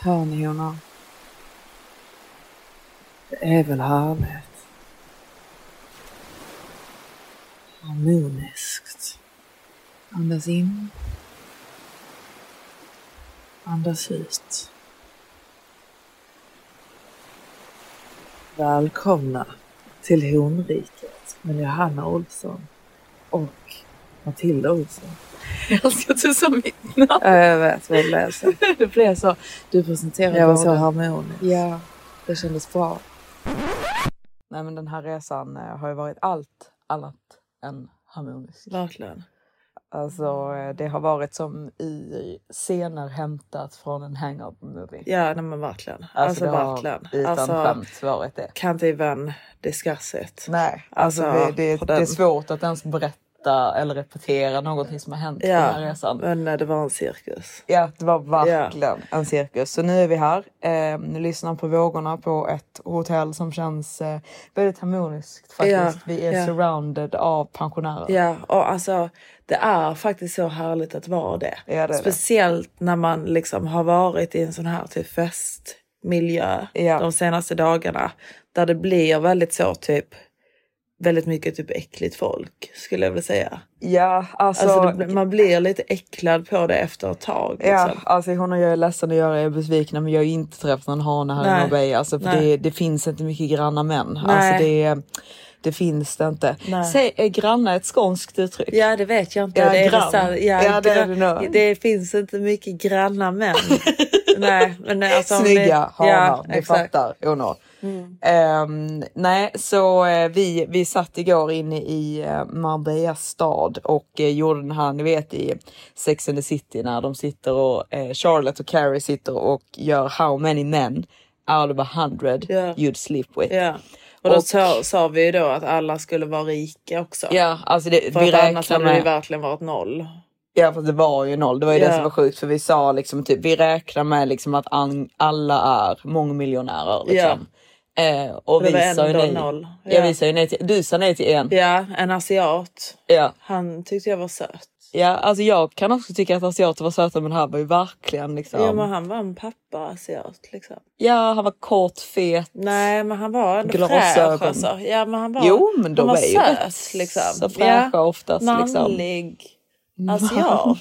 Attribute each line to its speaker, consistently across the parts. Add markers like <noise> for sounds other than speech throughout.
Speaker 1: Hör ni honom? Det är väl härligt. Harmoniskt. Andas in. Andas ut. Välkomna till Honriket med Johanna Olsson och Matilda Olsson.
Speaker 2: Jag älskar att du sa mitt namn.
Speaker 1: Ja, jag vet vad det blev så.
Speaker 2: <laughs> Det blev så. Du presenterade
Speaker 1: Jag var så
Speaker 2: båda.
Speaker 1: harmonisk.
Speaker 2: Ja, det kändes bra.
Speaker 1: Nej men den här resan eh, har ju varit allt annat än harmonisk.
Speaker 2: Verkligen.
Speaker 1: Alltså eh, det har varit som i scener hämtat från en hang-up movie.
Speaker 2: Ja, nej, men verkligen.
Speaker 1: Alltså,
Speaker 2: Alltså,
Speaker 1: det har
Speaker 2: verkligen.
Speaker 1: utan
Speaker 2: Alltså,
Speaker 1: skämt varit det.
Speaker 2: kan inte even discuss it.
Speaker 1: Nej, alltså,
Speaker 2: Alltså,
Speaker 1: vi, det,
Speaker 2: på
Speaker 1: det är
Speaker 2: den.
Speaker 1: svårt att ens berätta eller repetera någonting som har hänt på den här
Speaker 2: Ja,
Speaker 1: resan.
Speaker 2: men eh, det var en cirkus.
Speaker 1: Ja, det var verkligen en cirkus. Så nu är vi här. Eh, nu lyssnar på vågorna på ett hotell som känns eh, väldigt harmoniskt faktiskt.
Speaker 2: Ja,
Speaker 1: vi är
Speaker 2: ja.
Speaker 1: surrounded av pensionärer.
Speaker 2: Ja, och alltså det är faktiskt så härligt att vara det.
Speaker 1: Ja, det är det.
Speaker 2: Speciellt när man liksom har varit i en sån här typ festmiljö
Speaker 1: Ja.
Speaker 2: de senaste dagarna. Där det blir väldigt så typ väldigt mycket typ äckligt folk skulle jag vilja säga.
Speaker 1: Ja, alltså...
Speaker 2: Alltså, det, blir- man blir lite äcklad på det efter ett tag.
Speaker 1: Ja,
Speaker 2: Liksom.
Speaker 1: alltså hon och jag är ledsen att göra er besvikna men jag har ju inte träffat någon hane här i
Speaker 2: Nej.
Speaker 1: Norrberg. Alltså, för
Speaker 2: Nej.
Speaker 1: det, det finns inte mycket granna män.
Speaker 2: Nej.
Speaker 1: Alltså, det, det finns det inte.
Speaker 2: Nej.
Speaker 1: Säg, är granna ett skånskt uttryck?
Speaker 2: Ja det vet jag inte.
Speaker 1: Ja,
Speaker 2: det, är
Speaker 1: grann.
Speaker 2: så här- ja,
Speaker 1: Ja, det är
Speaker 2: gra-
Speaker 1: det nog.
Speaker 2: det finns inte mycket
Speaker 1: <laughs>
Speaker 2: granna män. nej, men alltså, om det-
Speaker 1: Snygga hanar,
Speaker 2: ja,
Speaker 1: ni
Speaker 2: exakt. Mm.
Speaker 1: fattar honor. Ehm, nej, så eh, vi, vi satt igår inne i eh, Marbella stad och eh, gjorde den här, ni vet i Sex and the City när de sitter och eh, Charlotte och Carrie sitter och gör How many men out of a hundred
Speaker 2: Ja.
Speaker 1: you'd sleep with.
Speaker 2: Ja. Och då
Speaker 1: Och-
Speaker 2: sa, sa vi ju då att alla skulle vara rika också.
Speaker 1: Ja, alltså det,
Speaker 2: För
Speaker 1: vi
Speaker 2: att annars
Speaker 1: räknar
Speaker 2: hade det ju
Speaker 1: med...
Speaker 2: verkligen varit noll.
Speaker 1: Ja fast det var ju noll, det var ju det
Speaker 2: Ja.
Speaker 1: som var sjukt för vi sa liksom typ vi räknar med liksom att an, alla är mångmiljonärer liksom. Eh, och
Speaker 2: Det
Speaker 1: vi
Speaker 2: var
Speaker 1: sa ju
Speaker 2: ändå
Speaker 1: nej.
Speaker 2: noll.
Speaker 1: Ja. vi sa ju nej till, du sa nej till en. Ja.
Speaker 2: Ja, en asiat.
Speaker 1: Ja.
Speaker 2: Han tyckte jag var söt.
Speaker 1: alltså jag kan också tycka att asiater var söta men det här var ju verkligen liksom.
Speaker 2: Ja, men han var en pappa asiat liksom.
Speaker 1: Ja, han var kort, fet.
Speaker 2: Nej, men han var ändå
Speaker 1: Glasögon.
Speaker 2: fräsch alltså. Ja, men han var,
Speaker 1: Jo men de
Speaker 2: han var
Speaker 1: är ju
Speaker 2: söt
Speaker 1: rätt
Speaker 2: liksom.
Speaker 1: så fräscha oftast liksom.
Speaker 2: Manlig asiat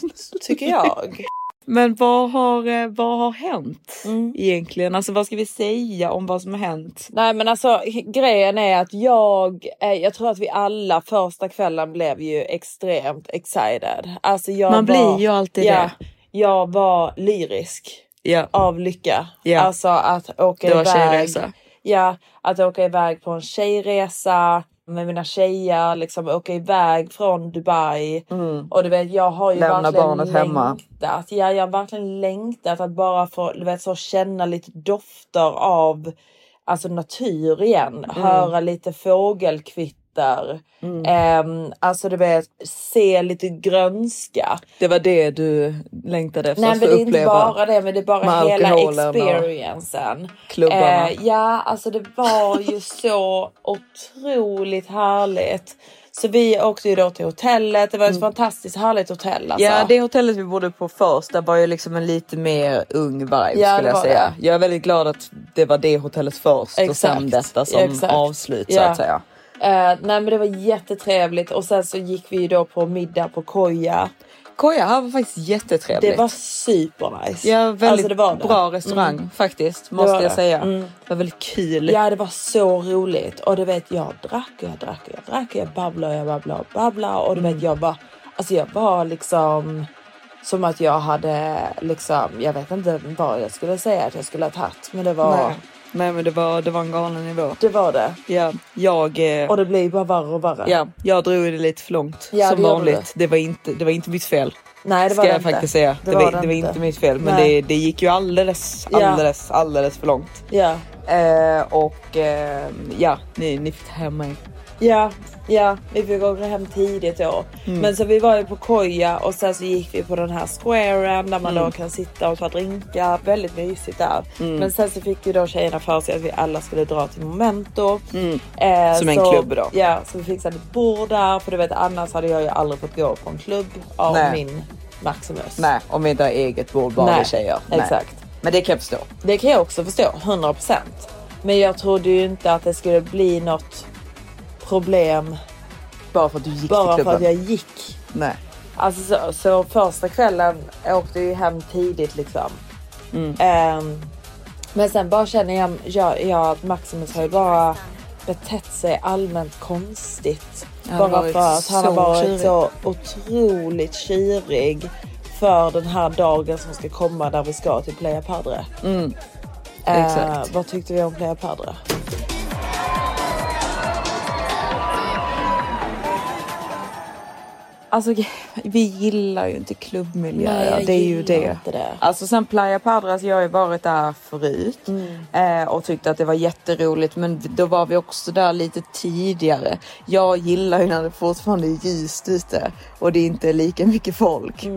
Speaker 2: tycker jag.
Speaker 1: Men vad har, eh, vad har hänt
Speaker 2: Mm.
Speaker 1: egentligen? Alltså vad ska vi säga om vad som har hänt?
Speaker 2: Nej men alltså grejen är att jag, eh, jag tror att vi alla första kvällen blev ju extremt excited. Alltså jag
Speaker 1: Man
Speaker 2: var,
Speaker 1: blir ju alltid
Speaker 2: ja,
Speaker 1: det.
Speaker 2: Jag var lyrisk
Speaker 1: Ja.
Speaker 2: av lycka.
Speaker 1: Ja.
Speaker 2: Alltså att åka
Speaker 1: Det var
Speaker 2: iväg.
Speaker 1: tjejresa.
Speaker 2: Ja, att åka iväg på en tjejresa med mina tjejer, liksom åka iväg från Dubai. Och du vet, jag har ju
Speaker 1: Mm. Lämna
Speaker 2: verkligen
Speaker 1: barnet
Speaker 2: längtat.
Speaker 1: hemma.
Speaker 2: Ja, jag har verkligen längtat att bara få du vet, så känna lite dofter av alltså, natur igen.
Speaker 1: Mm.
Speaker 2: Höra lite fågelkvitter. Ehm, alltså du vet, se lite grönska.
Speaker 1: Det var det du längtade efter
Speaker 2: Nej
Speaker 1: att få
Speaker 2: men det är inte
Speaker 1: uppleva.
Speaker 2: bara det men det är bara
Speaker 1: Med
Speaker 2: hela
Speaker 1: alkoholen och
Speaker 2: experiencen.
Speaker 1: klubbarna.
Speaker 2: Eh, ja alltså det var ju så otroligt härligt. Så vi åkte ju då till hotellet. Det var ett fantastiskt härligt hotell alltså.
Speaker 1: Mm. Ja, det hotellet vi bodde på först, där var ju liksom en lite mer ung vibe
Speaker 2: det
Speaker 1: skulle jag
Speaker 2: var
Speaker 1: säga. Jag är väldigt glad att det var det hotellet först och
Speaker 2: Exakt.
Speaker 1: sen detta som
Speaker 2: Exakt.
Speaker 1: avslut så
Speaker 2: Ja.
Speaker 1: att säga.
Speaker 2: Eh, nej men det var jättetrevligt och sen så gick vi ju då på middag på koja.
Speaker 1: Koja här var faktiskt jättetrevligt.
Speaker 2: Det var supernice.
Speaker 1: ja, väldigt
Speaker 2: Alltså, det var det.
Speaker 1: bra restaurang faktiskt måste jag
Speaker 2: var det. Mm.
Speaker 1: säga. Det var väldigt kul.
Speaker 2: Ja det var så roligt och du vet jag drack och jag drack och jag drack och jag babblade och jag babblade och babblade och du vet jag var, alltså jag var liksom som att jag hade liksom, jag vet inte vad jag skulle säga att jag skulle ha tagit men det var,
Speaker 1: Nej. Nej men det var, det var en galen nivå.
Speaker 2: det var det.
Speaker 1: Ja, jag, eh,
Speaker 2: Och det blir bara värre och värre.
Speaker 1: ja, jag drog det lite för långt
Speaker 2: Ja,
Speaker 1: som
Speaker 2: det gjorde
Speaker 1: vanligt. Det. var inte, det var inte mitt fel.
Speaker 2: Nej det var
Speaker 1: ska
Speaker 2: det
Speaker 1: jag
Speaker 2: inte.
Speaker 1: faktiskt säga. Det, var, det var inte mitt fel men
Speaker 2: Nej.
Speaker 1: det, det gick ju alldeles,
Speaker 2: Ja.
Speaker 1: alldeles, alldeles för långt.
Speaker 2: Ja.
Speaker 1: Eh, och eh, ja, ni, ni fick ta hem mig.
Speaker 2: Ja, ja, vi fick åka hem tidigt då.
Speaker 1: Mm.
Speaker 2: Men så vi var ju på koja och sen så gick vi på den här squaren där
Speaker 1: Mm.
Speaker 2: man då kan sitta och ta drinkar. Väldigt mysigt där. Men sen så fick ju då tjejerna för sig att vi alla skulle dra till Momento. Eh,
Speaker 1: Mm. Som en
Speaker 2: så,
Speaker 1: klubb då.
Speaker 2: Ja, så vi fixade ett bord där. För du vet annars hade jag ju aldrig fått gå på en klubb av
Speaker 1: Nej.
Speaker 2: min Maximus.
Speaker 1: Nej, om vi inte har eget bord bara
Speaker 2: Nej,
Speaker 1: vi tjejer. Nej.
Speaker 2: exakt.
Speaker 1: Men det kan jag förstå.
Speaker 2: Det kan jag också förstå, 100%. Men jag trodde ju inte att det skulle bli något problem
Speaker 1: Bara för att du gick
Speaker 2: bara
Speaker 1: till
Speaker 2: för
Speaker 1: klubben.
Speaker 2: att jag gick
Speaker 1: Nej.
Speaker 2: Alltså så, så första kvällen jag åkte ju hem tidigt liksom.
Speaker 1: Mm.
Speaker 2: Ehm, men sen bara känner jag, jag, jag att Maximus har ju bara betett sig allmänt konstigt.
Speaker 1: Han har
Speaker 2: bara
Speaker 1: varit
Speaker 2: för att han har
Speaker 1: så
Speaker 2: varit
Speaker 1: tjurig.
Speaker 2: så otroligt kyrig för den här dagen som ska komma där vi ska till Playa Padre. Ehm,
Speaker 1: Mm. exakt.
Speaker 2: vad tyckte vi om Playa Padre?
Speaker 1: Alltså vi gillar ju inte klubbmiljöer.
Speaker 2: Nej, jag
Speaker 1: det är ju
Speaker 2: gillar
Speaker 1: det.
Speaker 2: inte det.
Speaker 1: Alltså sen Playa Padras, jag har ju varit där förut eh, och tyckte att det var jätteroligt men då var vi också där lite tidigare. Jag gillar ju när det fortfarande är ljust ute och det är inte lika mycket folk.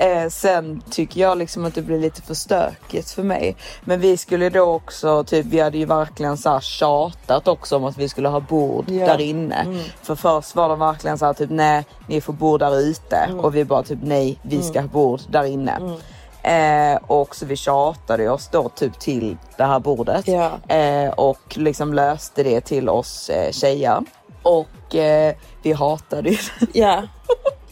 Speaker 1: Eh, sen tycker jag liksom att det blir lite för stökigt för mig. Men vi skulle då också, typ, vi hade ju verkligen så här tjatat också om att vi skulle ha bord där inne. För först var de verkligen så här typ nej, ni får bord där ute. Och vi bara typ nej, vi ska ha bord där inne. Eh, och så vi tjatade oss då typ till det här bordet.
Speaker 2: Ja.
Speaker 1: Eh, och liksom löste det till oss eh, tjejer. Och eh, vi hatade ju det. <laughs>
Speaker 2: Ja.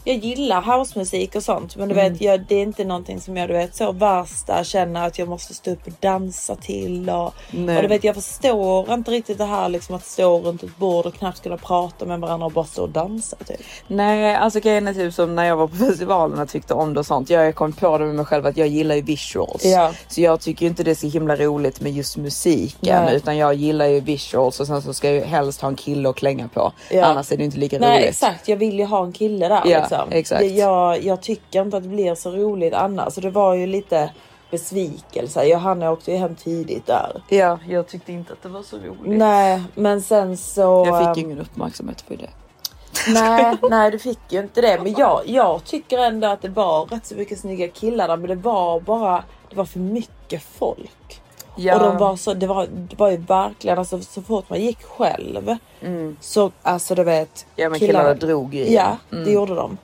Speaker 2: Jag gillar housemusik och sånt men du
Speaker 1: Mm.
Speaker 2: vet jag, det är inte någonting som jag du vet så värsta känner att jag måste stå upp och dansa till och, och du vet jag förstår inte riktigt det här liksom att stå runt ett bord och knappt kunna prata med varandra och bara stå och dansa typ.
Speaker 1: Nej, alltså grejen är typ som när jag var på festivalen och tyckte om det och sånt. Jag kom på det med mig själv att jag gillar ju visuals.
Speaker 2: Ja.
Speaker 1: Så jag tycker ju inte det är så himla roligt med just musiken
Speaker 2: Nej.
Speaker 1: utan jag gillar ju visuals och sen så ska jag ju helst ha en kille att klänga på.
Speaker 2: Ja.
Speaker 1: Annars är det inte lika
Speaker 2: Nej
Speaker 1: roligt.
Speaker 2: exakt, jag vill ju ha en kille där
Speaker 1: Ja,
Speaker 2: liksom.
Speaker 1: exakt.
Speaker 2: Det, jag, jag tycker inte att det blir så roligt annars så det var ju lite besvikelse. Johanna åkte ju hem tidigt där.
Speaker 1: Ja, jag tyckte inte att det var så roligt.
Speaker 2: Nej men sen så...
Speaker 1: Jag
Speaker 2: ehm,
Speaker 1: fick ingen uppmärksamhet för det. <laughs>
Speaker 2: Nej, nej du fick ju inte det. Men jag, jag tycker ändå att det var rätt så mycket snygga killar där. Men det var bara, det var för mycket folk.
Speaker 1: Ja.
Speaker 2: Och de var så, det var, det var ju verkligen, alltså så fort man gick själv. Så alltså du vet.
Speaker 1: Mm. Ja, men killarna drog ju i
Speaker 2: Ja, det gjorde de.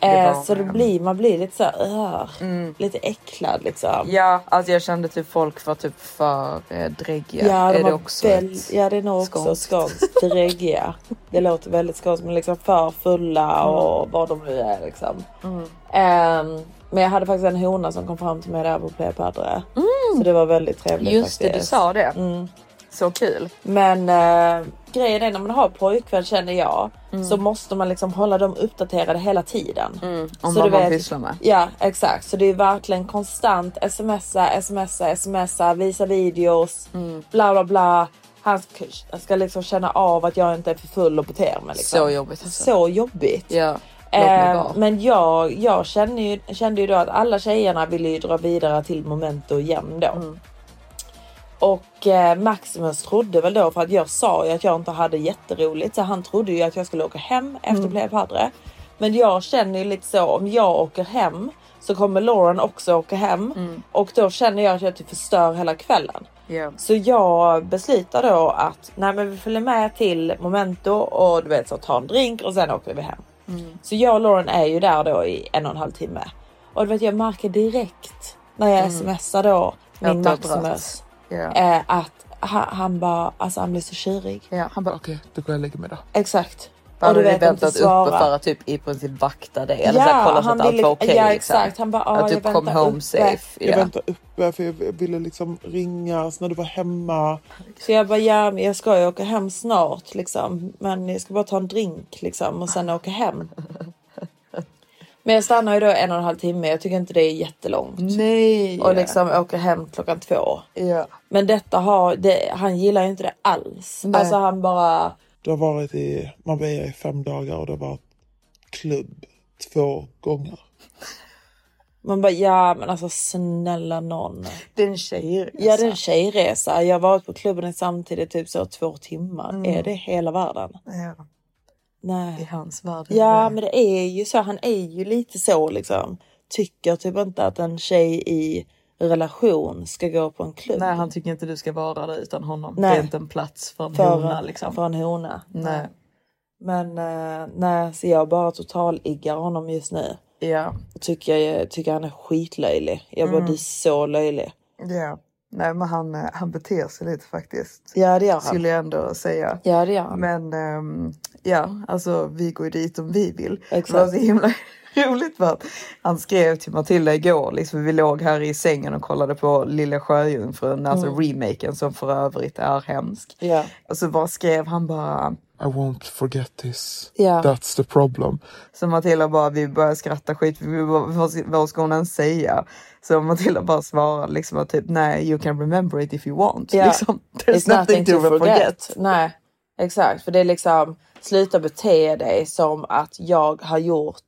Speaker 1: Det
Speaker 2: eh,
Speaker 1: var- Mm.
Speaker 2: så det blir, man blir lite så här, "Ugh", lite äcklad liksom.
Speaker 1: Ja, alltså jag kände typ folk var typ för eh, dräggiga.
Speaker 2: Ja, de
Speaker 1: är
Speaker 2: var
Speaker 1: det också
Speaker 2: väl,
Speaker 1: ett
Speaker 2: ja det är nog också
Speaker 1: skånskt?
Speaker 2: skånskt
Speaker 1: <laughs>
Speaker 2: dräggiga. Det låter väldigt skånskt men liksom för fulla
Speaker 1: Mm.
Speaker 2: och vad de nu är liksom. Ehm, men jag hade faktiskt en hona som kom fram till mig där på Playa Padre. Så det var väldigt trevligt
Speaker 1: Mm. Just det,
Speaker 2: faktiskt.
Speaker 1: du sa det. Så kul.
Speaker 2: Men eh, grejen är när man har pojkvän känner jag
Speaker 1: Mm.
Speaker 2: så måste man liksom hålla dem uppdaterade hela tiden.
Speaker 1: Mm. om
Speaker 2: så
Speaker 1: vad
Speaker 2: du
Speaker 1: man
Speaker 2: vet-
Speaker 1: pysslar med.
Speaker 2: Ja exakt så det är verkligen konstant smsa, smsa, smsa, visa videos,
Speaker 1: Mm.
Speaker 2: bla bla bla. Han ska, han ska liksom känna av att jag inte är för full och beter mig. Liksom.
Speaker 1: Så jobbigt alltså.
Speaker 2: Så jobbigt.
Speaker 1: Ja, låt mig
Speaker 2: Eh,
Speaker 1: vara.
Speaker 2: men jag, jag kände, ju, kände ju då att alla tjejerna ville ju dra vidare till Momento igen då.
Speaker 1: Mm.
Speaker 2: Och eh, Maximus trodde väl då, för att jag sa ju att jag inte hade jätteroligt, så han trodde ju att jag skulle åka hem efter
Speaker 1: Mm.
Speaker 2: Playa Padre. Men jag känner ju lite så, om jag åker hem så kommer Lauren också åka hem
Speaker 1: Mm.
Speaker 2: och då känner jag att jag typ förstör hela kvällen.
Speaker 1: Ja.
Speaker 2: Så jag beslutar då att nej men vi följer med till Momento och du vet så ta en drink och sen åker vi hem.
Speaker 1: Mm.
Speaker 2: Så jag och Lauren är ju där då i en och en halv timme. Och du vet jag märker direkt när jag smsar då min
Speaker 1: Att du har dragit.
Speaker 2: Maximus
Speaker 1: Mm. Ja.
Speaker 2: eh, att han, han bara, alltså han blev så tjurig.
Speaker 1: Ja.
Speaker 3: Han bara okej, då går jag och lägger mig då.
Speaker 2: Exakt.
Speaker 1: Och du vet
Speaker 2: inte
Speaker 1: väntat uppe
Speaker 2: svara.
Speaker 1: för att typ i princip vakta dig eller så här, kolla så att allt
Speaker 2: ville-
Speaker 1: var okej.
Speaker 2: Ja
Speaker 1: liksom.
Speaker 2: exakt. Han bara, ah,
Speaker 1: att du
Speaker 2: jag
Speaker 1: kom
Speaker 2: väntar
Speaker 1: home
Speaker 2: uppe.
Speaker 1: safe.
Speaker 3: Jag
Speaker 1: Ja.
Speaker 3: väntade uppe för jag ville liksom ringa så när du var hemma.
Speaker 2: Så jag bara, ja men jag ska ju åka hem snart liksom. Men jag ska bara ta en drink liksom och sen åka hem. Men jag stannar ju då en och en halv timme. Jag tycker inte det är jättelångt.
Speaker 1: Nej.
Speaker 2: Och liksom åker hem klockan två.
Speaker 1: ja.
Speaker 2: Men detta har, det, han gillar ju inte det alls. Alltså han bara,
Speaker 3: Du har varit i Marbella i fem dagar och du har varit klubb två gånger.
Speaker 2: man bara, ja men alltså snälla någon.
Speaker 1: Den tjejresa.
Speaker 2: Ja det är en tjejresa. Jag har varit på klubben samtidigt typ så två timmar. Är det hela världen?
Speaker 1: Mm. Ja. I
Speaker 2: Nej.
Speaker 1: hans värld.
Speaker 2: Ja men det är ju så. Han är ju lite så liksom. Tycker typ inte att en tjej i relation ska gå på en klubb.
Speaker 1: Nej han tycker inte du ska vara där utan honom.
Speaker 2: Nej.
Speaker 1: Det är inte en plats för en
Speaker 2: för,
Speaker 1: hona liksom.
Speaker 2: för en hona.
Speaker 1: Nej.
Speaker 2: Men eh, nej, så jag bara totaliggar honom just nu.
Speaker 1: Ja.
Speaker 2: Tycker, jag, tycker han är skitlöjlig. Jag
Speaker 1: Mm.
Speaker 2: bara, du är så löjlig.
Speaker 1: ja. Nej men han, eh, han beter sig lite faktiskt.
Speaker 2: Ja, det gör han.
Speaker 1: Skulle jag ändå säga.
Speaker 2: Ja, det gör han.
Speaker 1: Men ehm, ja, alltså vi går ju dit om vi vill.
Speaker 2: Exakt.
Speaker 1: Det var så himla <laughs> roligt för att han skrev till Matilda igår, liksom, vi låg här i sängen och kollade på Lilla Sjöjungfrun, alltså remaken som för övrigt är hemsk.
Speaker 2: Ja.
Speaker 1: Och så bara skrev han bara,
Speaker 3: I won't forget this.
Speaker 2: Ja.
Speaker 3: That's the problem.
Speaker 1: så Matilda bara vi börjar skratta skit, vi bara, vad, ska- vad ska hon ens säga? Så Matilda bara svarade liksom att typ nej, you can remember it if you want.
Speaker 2: Ja.
Speaker 1: Liksom, <laughs> there's nothing, to forget.
Speaker 2: Nej, exakt. För det är liksom, sluta bete dig som att jag har gjort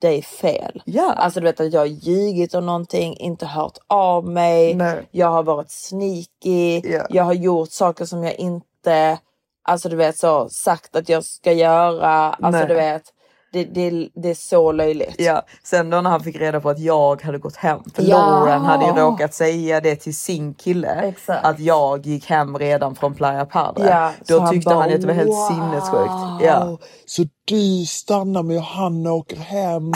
Speaker 2: dig fel.
Speaker 1: Ja.
Speaker 2: Alltså du vet att jag har ljugit om någonting, inte hört av mig.
Speaker 1: Nej.
Speaker 2: Jag har varit sneaky.
Speaker 1: Ja.
Speaker 2: Jag har gjort saker som jag inte, alltså du vet så sagt att jag ska göra. Alltså
Speaker 1: Nej.
Speaker 2: du vet, det, det, det är så löjligt.
Speaker 1: Ja, sen då när han fick reda på att jag hade gått hem, för
Speaker 2: Ja.
Speaker 1: Lauren hade ju råkat säga det till sin kille,
Speaker 2: Exakt.
Speaker 1: att jag gick hem redan från Playa Padre.
Speaker 2: Ja, så
Speaker 1: då
Speaker 2: han
Speaker 1: tyckte
Speaker 2: bara,
Speaker 1: han, att det var helt
Speaker 2: wow.
Speaker 1: sinnessjukt. Ja.
Speaker 3: Så du stannar med Johanna och åker hem.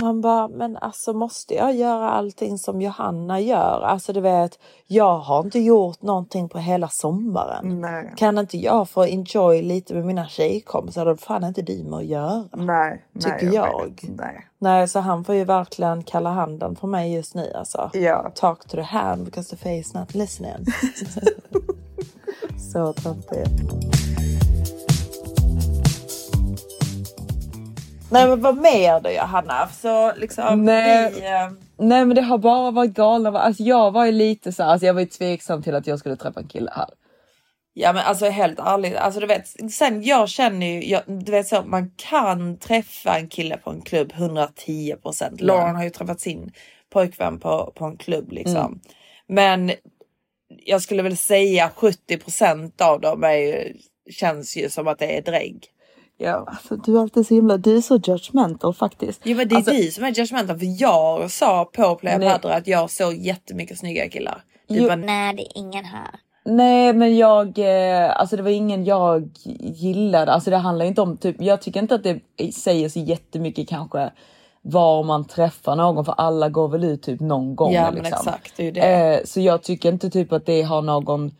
Speaker 2: Man bara, men alltså måste jag göra allting som Johanna gör? Alltså du vet, jag har inte gjort någonting på hela sommaren.
Speaker 1: Nej.
Speaker 2: Kan inte jag få enjoy lite med mina tjejkompisar? Då har fan inte du med att göra.
Speaker 1: Nej, nej,
Speaker 2: Tycker jag.
Speaker 1: vet. Nej.
Speaker 2: Nej, så han får ju verkligen kalla handen från mig just nu alltså.
Speaker 1: Ja.
Speaker 2: Talk to the hand because the face
Speaker 1: <laughs>
Speaker 2: not listening. så töntigt. Nej men vad mer då Johanna? Så liksom
Speaker 1: Nej.
Speaker 2: vi... eh,
Speaker 1: Nej men det har bara varit galna, alltså jag var ju lite så här, alltså jag var ju tveksam till att jag skulle träffa en kille här.
Speaker 2: Ja men alltså helt ärligt, alltså du vet, sen jag känner ju, jag, du vet så, man kan träffa en kille på en klubb 110 procent. Lauren har ju träffat sin pojkvän på, på en klubb liksom. Men jag skulle väl säga 70 procent av dem är ju, känns ju som att det är drägg.
Speaker 1: Ja. Alltså, du är alltid så himla, du är så judgmental faktiskt.
Speaker 2: Jo men det är
Speaker 1: Alltså-
Speaker 2: du som är judgmental för jag sa på Playa
Speaker 1: Nej.
Speaker 2: Padre att jag såg jättemycket snygga killar. Typ Du
Speaker 1: Jo.
Speaker 2: bara,
Speaker 4: Nej, det är ingen här.
Speaker 1: Nej men jag, eh, alltså det var ingen jag gillade. Alltså det handlar ju inte om, typ, jag tycker inte att det säger så jättemycket kanske var man träffar någon för alla går väl ut typ någon gång.
Speaker 2: Ja, men
Speaker 1: liksom.
Speaker 2: exakt, det är ju det.
Speaker 1: Eh, så jag tycker inte typ att det har någon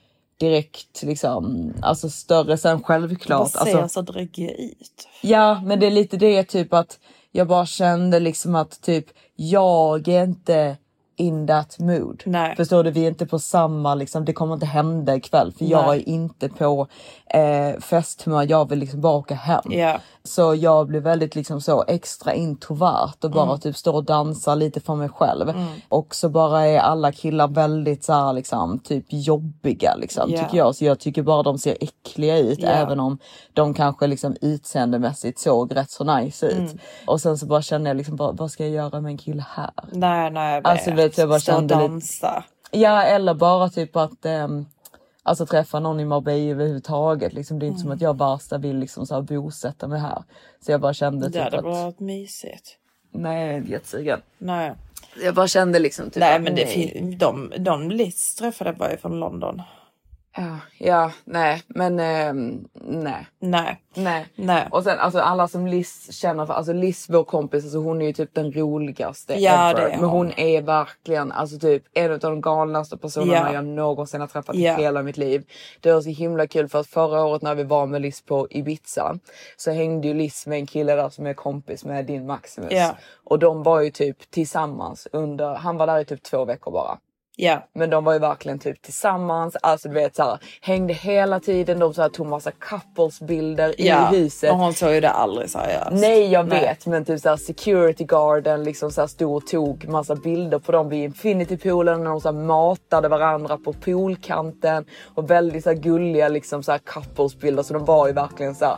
Speaker 1: direkt liksom, alltså större sen
Speaker 2: vad
Speaker 1: självklart.
Speaker 2: ser
Speaker 1: Alltså,
Speaker 2: så dräggig ut?
Speaker 1: Ja, men det är lite det typ att jag bara kände liksom att typ jag är inte in that mood.
Speaker 2: Nej.
Speaker 1: Förstår du? Vi är inte på samma liksom. Det kommer inte hända ikväll för jag
Speaker 2: Nej.
Speaker 1: är inte på eh, festhumör. Jag vill liksom bara åka hem.
Speaker 2: Ja.
Speaker 1: Så jag blev väldigt liksom så extra introvert och
Speaker 2: Mm.
Speaker 1: bara typ står och dansar lite för mig själv. Och så bara är alla killar väldigt så här liksom typ jobbiga liksom
Speaker 2: Ja.
Speaker 1: tycker jag. Så jag tycker bara de ser äckliga ut
Speaker 2: Ja.
Speaker 1: även om de kanske liksom utseendemässigt såg rätt så nice ut.
Speaker 2: Mm.
Speaker 1: Och sen så bara kände jag liksom bara, vad ska jag göra med en kille här?
Speaker 2: Nej nej jag vet.
Speaker 1: Alltså, vet jag bara
Speaker 2: Stå och
Speaker 1: kände lite-
Speaker 2: dansa.
Speaker 1: Ja eller bara typ att ehm, Alltså träffa någon i Marbella överhuvudtaget. Liksom, det är inte
Speaker 2: Mm.
Speaker 1: som att jag värsta vill liksom så här bosätta mig här. Så jag bara kände typ
Speaker 2: Det hade
Speaker 1: att...
Speaker 2: varit mysigt.
Speaker 1: Nej, jag är inte jättesugen.
Speaker 2: Nej,
Speaker 1: Jag bara kände liksom typ
Speaker 2: nej
Speaker 1: att
Speaker 2: men det fin- de, de Liz träffade var ju från London.
Speaker 1: Ja, ja nej, men ehm, nej.
Speaker 2: Nej.
Speaker 1: Nej.
Speaker 2: Nej.
Speaker 1: Och sen alltså alla som Liz känner för, alltså Liz vår kompis, alltså hon är ju typ den roligaste
Speaker 2: Ja,
Speaker 1: ever.
Speaker 2: det är
Speaker 1: Men
Speaker 2: hon.
Speaker 1: hon är verkligen alltså typ en av de galnaste personerna
Speaker 2: Ja.
Speaker 1: jag någonsin har träffat
Speaker 2: Ja.
Speaker 1: i hela mitt liv. Det var så himla kul för att förra året när vi var med Liz på Ibiza så hängde ju Liz med en kille där som är kompis med din Maximus.
Speaker 2: Ja.
Speaker 1: Och de var ju typ tillsammans under, han var där i typ två veckor bara.
Speaker 2: Ja.
Speaker 1: Men de var ju verkligen typ tillsammans, alltså du vet såhär hängde hela tiden, de så här, tog massa couples-bilder
Speaker 2: ja.
Speaker 1: i huset.
Speaker 2: Och hon såg ju det aldrig seriöst.
Speaker 1: Nej jag vet men typ såhär security garden liksom såhär stod och tog massa bilder på dem vid infinity-poolen när de såhär matade varandra på poolkanten och väldigt såhär gulliga liksom såhär couples-bilder så de var ju verkligen såhär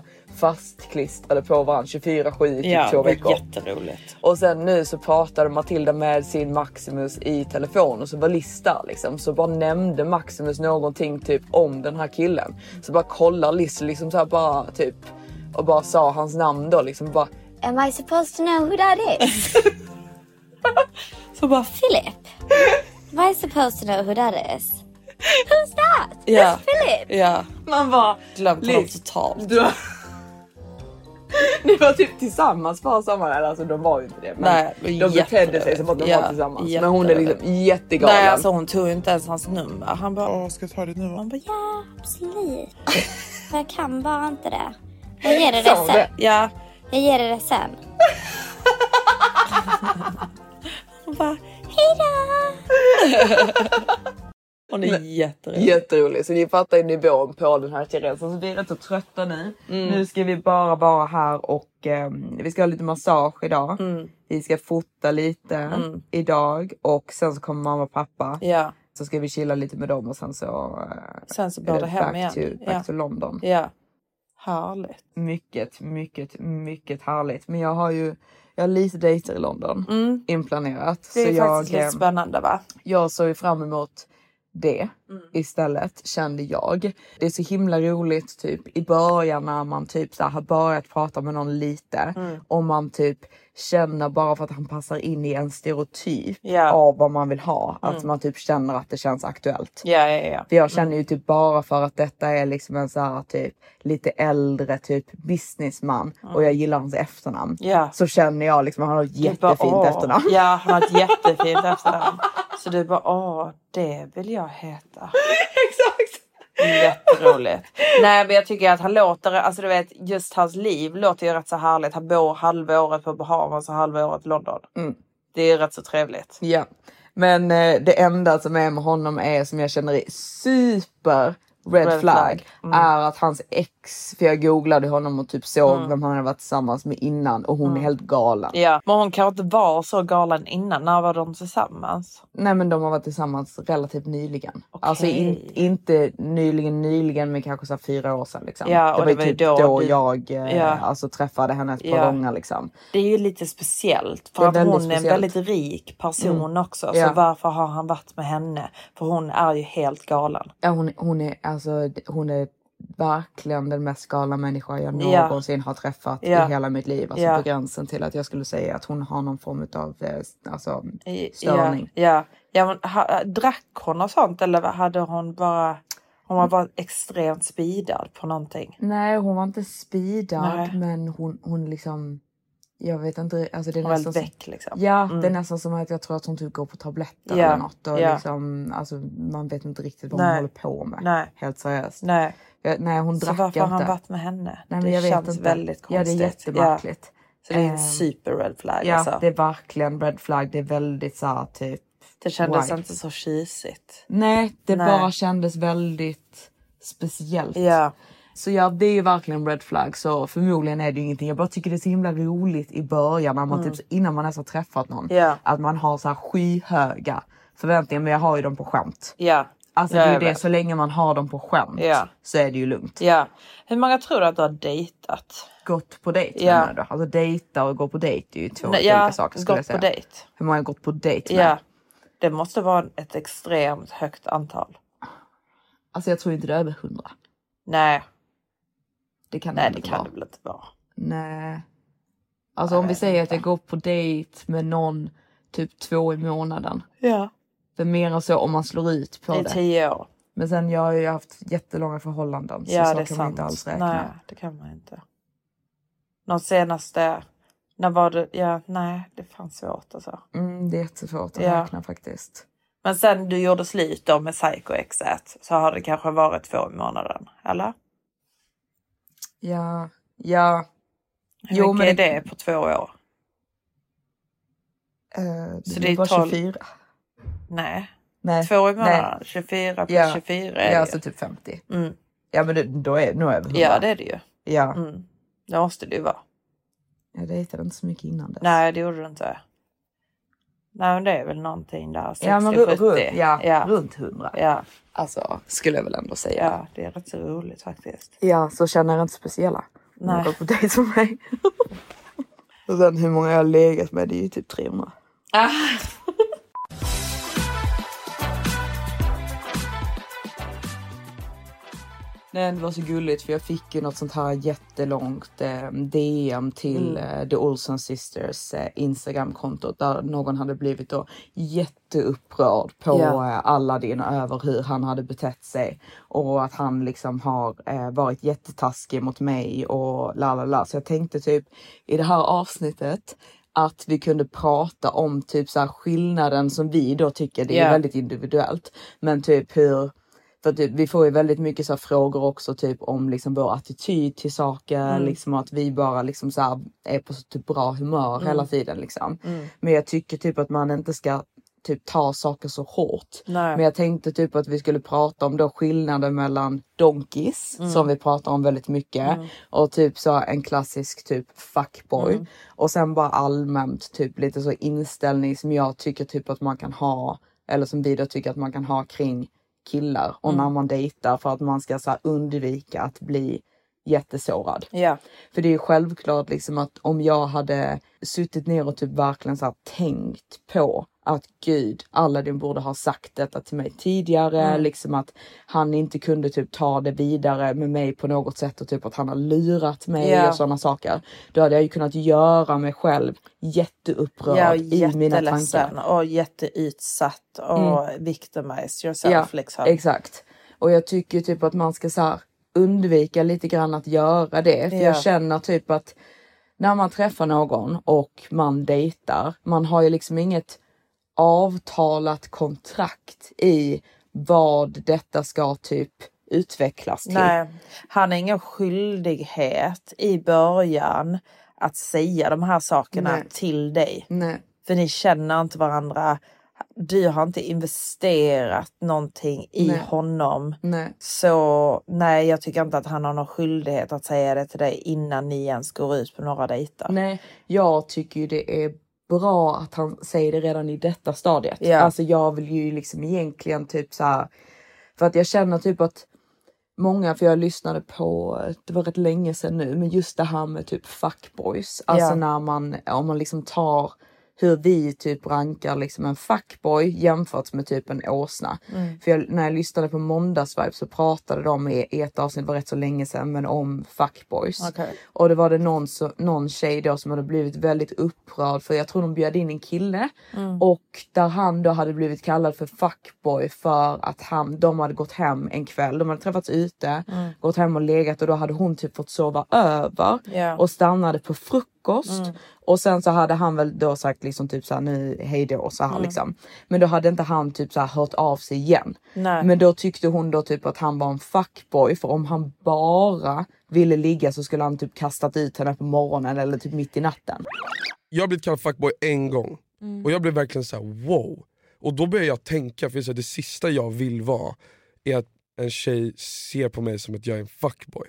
Speaker 1: fastklistrade på varandra 24-7 i typ
Speaker 2: Ja, det
Speaker 1: två
Speaker 2: var
Speaker 1: veckor.
Speaker 2: jätteroligt.
Speaker 1: Och sen nu så pratade Matilda med sin Maximus i telefon och så var Lista liksom. Så bara nämnde Maximus någonting typ om den här killen. Så bara kollar Liz liksom så här bara typ och bara sa hans namn då liksom bara
Speaker 4: Am I supposed to know who that is?
Speaker 2: Så bara,
Speaker 4: Philip? Am I supposed to know who that is? Who's that?
Speaker 2: Ja.
Speaker 4: It's Philip!
Speaker 2: ja.
Speaker 1: Man bara
Speaker 2: Glömt honom
Speaker 1: Liz,
Speaker 2: totalt.
Speaker 1: Du har... <laughs> Ni var typ tillsammans för sommaren, alltså de var ju inte det. Men
Speaker 2: Nej, men
Speaker 1: de betedde sig
Speaker 2: jätteroligt.
Speaker 1: som att de
Speaker 2: Ja,
Speaker 1: var tillsammans. Men hon är liksom
Speaker 2: jätteroligt.
Speaker 1: jättegalen.
Speaker 2: Nej alltså hon tog ju inte ens hans nummer. Han bara,
Speaker 3: Åh, ska jag ta det nu?
Speaker 2: han bara ja.
Speaker 4: Ja,
Speaker 3: <laughs>
Speaker 4: absolut. Men jag kan bara inte det. Jag ger dig
Speaker 1: Sa
Speaker 4: det
Speaker 1: hon det?
Speaker 4: sen.
Speaker 2: ja.
Speaker 4: Jag ger dig det sen.
Speaker 2: Hon bara,
Speaker 4: Hejdå!
Speaker 1: <laughs>
Speaker 2: hon är jätterolig.
Speaker 1: Jätterolig. Så ni fattar ju nivån på den här Therese. Så vi är rätt så trötta nu.
Speaker 2: Mm.
Speaker 1: Nu ska vi bara vara här och ehm, vi ska ha lite massage idag.
Speaker 2: Mm.
Speaker 1: Vi ska fota lite idag och sen så kommer mamma och pappa.
Speaker 2: Ja.
Speaker 1: Så ska vi chilla lite med dem och sen så... eh,
Speaker 2: Sen så
Speaker 1: är
Speaker 2: blir det
Speaker 1: back
Speaker 2: hem igen.
Speaker 1: To, back
Speaker 2: Ja.
Speaker 1: to London.
Speaker 2: Ja. Härligt.
Speaker 1: Mycket, mycket, mycket härligt. Men jag har ju jag har lite dejter i London inplanerat.
Speaker 2: Mm.
Speaker 1: så
Speaker 2: Det är faktiskt
Speaker 1: jag,
Speaker 2: lite
Speaker 1: ehm,
Speaker 2: spännande va?
Speaker 1: jag såg ju fram emot det
Speaker 2: Mm.
Speaker 1: istället kände jag. Det är så himla roligt typ i början när man typ så här, har börjat prata med någon lite
Speaker 2: Mm.
Speaker 1: och man typ känner bara för att han passar in i en stereotyp
Speaker 2: Ja. Mm.
Speaker 1: av vad man vill ha. Att man typ känner att det känns aktuellt.
Speaker 2: Ja, Mm. ja, ja.
Speaker 1: För jag känner ju typ bara för att detta är liksom en så här typ lite äldre typ businessman och jag gillar hans efternamn.
Speaker 2: Mm. Ja.
Speaker 1: Så känner jag liksom att han har ett jättefint
Speaker 2: åh.
Speaker 1: efternamn.
Speaker 2: Ja, han har
Speaker 1: <laughs>
Speaker 2: ett jättefint efternamn. Så du bara, åh, det vill jag heta.
Speaker 1: <laughs> Exakt!
Speaker 2: Jätteroligt. Nej, men jag tycker att han låter, alltså du vet, just hans liv låter ju rätt så härligt. Han bor halva året på Bahamas och halva året i London.
Speaker 1: Mm.
Speaker 2: Det är rätt så trevligt.
Speaker 1: Ja, men eh, det enda som är med honom är som jag känner är super red, flag,
Speaker 2: Red flag. Mm.
Speaker 1: är att hans ex, för jag googlade honom och typ såg vem han hade varit tillsammans med innan och hon är helt galen.
Speaker 2: Mm. Ja, men hon kanske inte var så galen innan. När var de tillsammans?
Speaker 1: Nej men de har varit tillsammans relativt nyligen.
Speaker 2: Okej.
Speaker 1: Alltså in, inte nyligen nyligen men kanske så här fyra år sedan. Liksom.
Speaker 2: Ja, och
Speaker 1: det var ju typ då,
Speaker 2: du-
Speaker 1: jag eh,
Speaker 2: Ja.
Speaker 1: alltså, träffade hennes par
Speaker 2: Ja.
Speaker 1: gånger. Liksom.
Speaker 2: Det är ju lite speciellt
Speaker 1: Det
Speaker 2: för
Speaker 1: är
Speaker 2: att
Speaker 1: väldigt
Speaker 2: hon är en
Speaker 1: speciellt.
Speaker 2: väldigt Mm. rik person också.
Speaker 1: Ja.
Speaker 2: Så varför har han varit med henne? För hon är ju helt galen.
Speaker 1: Ja, hon, hon, är, alltså, d- hon är verkligen den mest galna människa jag
Speaker 2: Ja.
Speaker 1: någonsin har träffat
Speaker 2: Ja.
Speaker 1: i hela mitt liv. Alltså
Speaker 2: Ja.
Speaker 1: på gränsen till att jag skulle säga att hon har någon form av alltså,
Speaker 2: I-
Speaker 1: störning.
Speaker 2: Ja, ja. ja men, ha, drack hon och sånt eller hade hon bara... Hon var bara extremt speedad på någonting.
Speaker 1: Nej, hon var inte speedad
Speaker 2: Nej.
Speaker 1: men hon, hon liksom... Jag vet inte. Alltså det är
Speaker 2: Hon var
Speaker 1: nästan
Speaker 2: väldigt
Speaker 1: som,
Speaker 2: väck liksom.
Speaker 1: Ja, det är nästan som att jag tror att hon typ går på tabletter
Speaker 2: Ja,
Speaker 1: eller något. Och
Speaker 2: ja.
Speaker 1: liksom, alltså, man vet inte riktigt vad hon
Speaker 2: Nej.
Speaker 1: håller på med.
Speaker 2: Nej.
Speaker 1: Helt seriöst.
Speaker 2: Nej.
Speaker 1: Jag, nej hon
Speaker 2: Så
Speaker 1: drack
Speaker 2: varför har han
Speaker 1: inte.
Speaker 2: varit med henne?
Speaker 1: Nej, men
Speaker 2: det
Speaker 1: jag vet
Speaker 2: känns
Speaker 1: inte.
Speaker 2: väldigt
Speaker 1: Ja, det är
Speaker 2: konstigt.
Speaker 1: jättemärkligt.
Speaker 2: Så det är
Speaker 1: Ehm,
Speaker 2: en super red flag
Speaker 1: Ja,
Speaker 2: alltså.
Speaker 1: det
Speaker 2: Det,
Speaker 1: är verkligen red flag. Det är väldigt så här, typ...
Speaker 2: kändes
Speaker 1: white.
Speaker 2: inte så tjusigt.
Speaker 1: Nej, det
Speaker 2: Nej.
Speaker 1: bara kändes väldigt speciellt.
Speaker 2: Ja.
Speaker 1: Så ja, det är ju verkligen red flag. Så förmodligen är det ju ingenting. Jag bara tycker det är så himla roligt i början när man typ, så- innan man ens har träffat någon.
Speaker 2: Mm. Ja.
Speaker 1: Att man har så här skyhöga förväntningar. Men jag har ju dem på skämt.
Speaker 2: Ja.
Speaker 1: Alltså
Speaker 2: Ja,
Speaker 1: det är ju
Speaker 2: jag
Speaker 1: det,
Speaker 2: vet.
Speaker 1: så länge man har dem på skämt
Speaker 2: Ja.
Speaker 1: så är det ju lugnt.
Speaker 2: Ja. Hur många tror du att du har dejtat?
Speaker 1: Gått på dejt
Speaker 2: Ja.
Speaker 1: menar du? Alltså dejta och gå på dejt är ju två
Speaker 2: Nej,
Speaker 1: olika
Speaker 2: ja,
Speaker 1: saker skulle jag
Speaker 2: gått
Speaker 1: säga.
Speaker 2: på dejt.
Speaker 1: Hur många har gått på dejt med?
Speaker 2: Ja. Det måste vara ett extremt högt antal.
Speaker 1: Alltså jag tror inte det är över hundra.
Speaker 2: Nej,
Speaker 1: Det kan
Speaker 2: nej
Speaker 1: ändå
Speaker 2: det
Speaker 1: inte
Speaker 2: kan
Speaker 1: vara.
Speaker 2: det väl inte vara.
Speaker 1: Nej. Alltså om vi säger att jag går på dejt med någon typ två i månaden.
Speaker 2: Ja.
Speaker 1: För mer än så om man slår ut på
Speaker 2: I
Speaker 1: det.
Speaker 2: tio år.
Speaker 1: Men sen jag har ju haft jättelånga förhållanden så
Speaker 2: Ja,
Speaker 1: så
Speaker 2: det är
Speaker 1: kan man
Speaker 2: sant.
Speaker 1: inte alls räkna.
Speaker 2: Nej, det kan man inte. De senaste... När var det? Ja, nej, det fanns svårt alltså.
Speaker 1: Mm, det är jättesvårt att
Speaker 2: Ja.
Speaker 1: räkna faktiskt.
Speaker 2: Men sen du gjorde slut då med psycho-exet så har det kanske varit två i månaden, eller?
Speaker 1: Ja, ja.
Speaker 2: Hur
Speaker 1: Jo,
Speaker 2: mycket
Speaker 1: men
Speaker 2: är det på två år?
Speaker 1: Eh,
Speaker 2: Så
Speaker 1: du
Speaker 2: det är
Speaker 1: var
Speaker 2: 12.
Speaker 1: 24.
Speaker 2: Nej,
Speaker 1: Nej.
Speaker 2: två i
Speaker 1: nej.
Speaker 2: månaden. 24 på
Speaker 1: Ja.
Speaker 2: 24 är
Speaker 1: Ja,
Speaker 2: det
Speaker 1: alltså
Speaker 2: ju.
Speaker 1: typ 50.
Speaker 2: Mm.
Speaker 1: Ja, men det, då är nog över 100.
Speaker 2: Ja, det är det ju.
Speaker 1: Ja.
Speaker 2: Mm. Det måste det ju vara.
Speaker 1: Jag dejtade inte så mycket innan dess.
Speaker 2: Nej, det gjorde du inte. Nej, men det är väl någonting där. 60,
Speaker 1: ja, men ru-
Speaker 2: 70.
Speaker 1: runt, ja,
Speaker 2: ja.
Speaker 1: runt 100.
Speaker 2: Ja.
Speaker 1: Alltså, skulle jag väl ändå säga.
Speaker 2: ja, det är rätt så roligt faktiskt.
Speaker 1: Ja, så känner jag inte speciella.
Speaker 2: Nej.
Speaker 1: Nej. Går på dejt med mig. <laughs> Och sen hur många jag har legat med, det är ju typ 300. Nej, det var så gulligt för jag fick ju något sånt här jättelångt eh, DM till
Speaker 2: Mm.
Speaker 1: eh, The Olsen Sisters eh, Instagramkonto där någon hade blivit då jätteupprörd på
Speaker 2: Ja.
Speaker 1: eh, Aladdin och över hur han hade betett sig och att han liksom har eh, varit jättetaskig mot mig och la la la. Så jag tänkte typ i det här avsnittet att vi kunde prata om typ så här skillnaden som vi då tycker, det är
Speaker 2: Ja.
Speaker 1: väldigt individuellt, men typ hur för att vi får ju väldigt mycket så här frågor också typ om liksom vår attityd till saker, liksom att vi bara liksom så här är på så typ bra humör hela tiden. Liksom. Men jag tycker typ att man inte ska typ ta saker så hårt.
Speaker 2: Nej.
Speaker 1: Men jag tänkte typ att vi skulle prata om då skillnaden mellan donkeys som vi pratar om väldigt mycket och typ så här en klassisk typ fuckboy och sen bara allmänt typ lite så inställning som jag tycker typ att man kan ha eller som vi då tycker att man kan ha kring killar och när man dejtar för att man ska så här undvika att bli jättesårad.
Speaker 2: Ja,
Speaker 1: För det är ju självklart liksom att om jag hade suttit ner och typ verkligen så här tänkt på att gud, Aladdin borde ha sagt detta till mig tidigare,
Speaker 2: Mm.
Speaker 1: liksom att han inte kunde typ ta det vidare med mig på något sätt och typ att han har lurat mig
Speaker 2: Ja.
Speaker 1: och sådana saker. Då hade jag ju kunnat göra mig själv jätteupprörd
Speaker 2: ja och
Speaker 1: i mina tankar. Mm.
Speaker 2: jätteledsen och jätteutsatt och victimize yourself liksom.
Speaker 1: Exakt. Och jag tycker typ att man ska så här undvika lite grann att göra det. För
Speaker 2: Ja.
Speaker 1: jag känner typ att när man träffar någon och man dejtar, man har ju liksom inget avtalat kontrakt i vad detta ska typ utvecklas till.
Speaker 2: Nej, han har ingen skyldighet i början att säga de här sakerna
Speaker 1: Nej.
Speaker 2: till dig.
Speaker 1: Nej.
Speaker 2: För ni känner inte varandra. Du har inte investerat någonting i
Speaker 1: Nej.
Speaker 2: honom.
Speaker 1: Nej.
Speaker 2: Så nej, jag tycker inte att han har någon skyldighet att säga det till dig innan ni ens går ut på några dejter.
Speaker 1: Nej, jag tycker ju det är bra att han säger det redan i detta stadiet.
Speaker 2: Ja.
Speaker 1: Alltså jag vill ju liksom egentligen typ så här. För att jag känner typ att många, för jag lyssnade på, det var rätt länge sedan nu, men just det här med typ fuckboys. Alltså
Speaker 2: Ja.
Speaker 1: när man, om man liksom tar hur vi typ rankar liksom en fuckboy jämfört med typ en åsna.
Speaker 2: Mm.
Speaker 1: För jag, när jag lyssnade på måndagsvibe så pratade de i, i ett avsnitt, det var rätt så länge sedan, men om fuckboys.
Speaker 2: Okej.
Speaker 1: <laughs> Och det var det någon, så, någon tjej då som hade blivit väldigt upprörd för jag tror de bjöd in en kille och där han då hade blivit kallad för fuckboy för att han, de hade gått hem en kväll. De hade träffats ute, gått hem och legat och då hade hon typ fått sova över
Speaker 2: Ja.
Speaker 1: och stannade på frukost. Och sen så hade han väl då sagt liksom typ såhär nu hejdå så här liksom. Men då hade inte han typ så här hört av sig igen.
Speaker 2: Nej.
Speaker 1: Men då tyckte hon då typ att han var en fuckboy för om han bara ville ligga så skulle han typ kastat ut henne på morgonen eller typ mitt i natten.
Speaker 5: jag har blivit kallad fuckboy en gång och jag blev verkligen så här: wow. Och då började jag tänka, för det, är så här, det sista jag vill vara är att en tjej ser på mig som att jag är en fuckboy.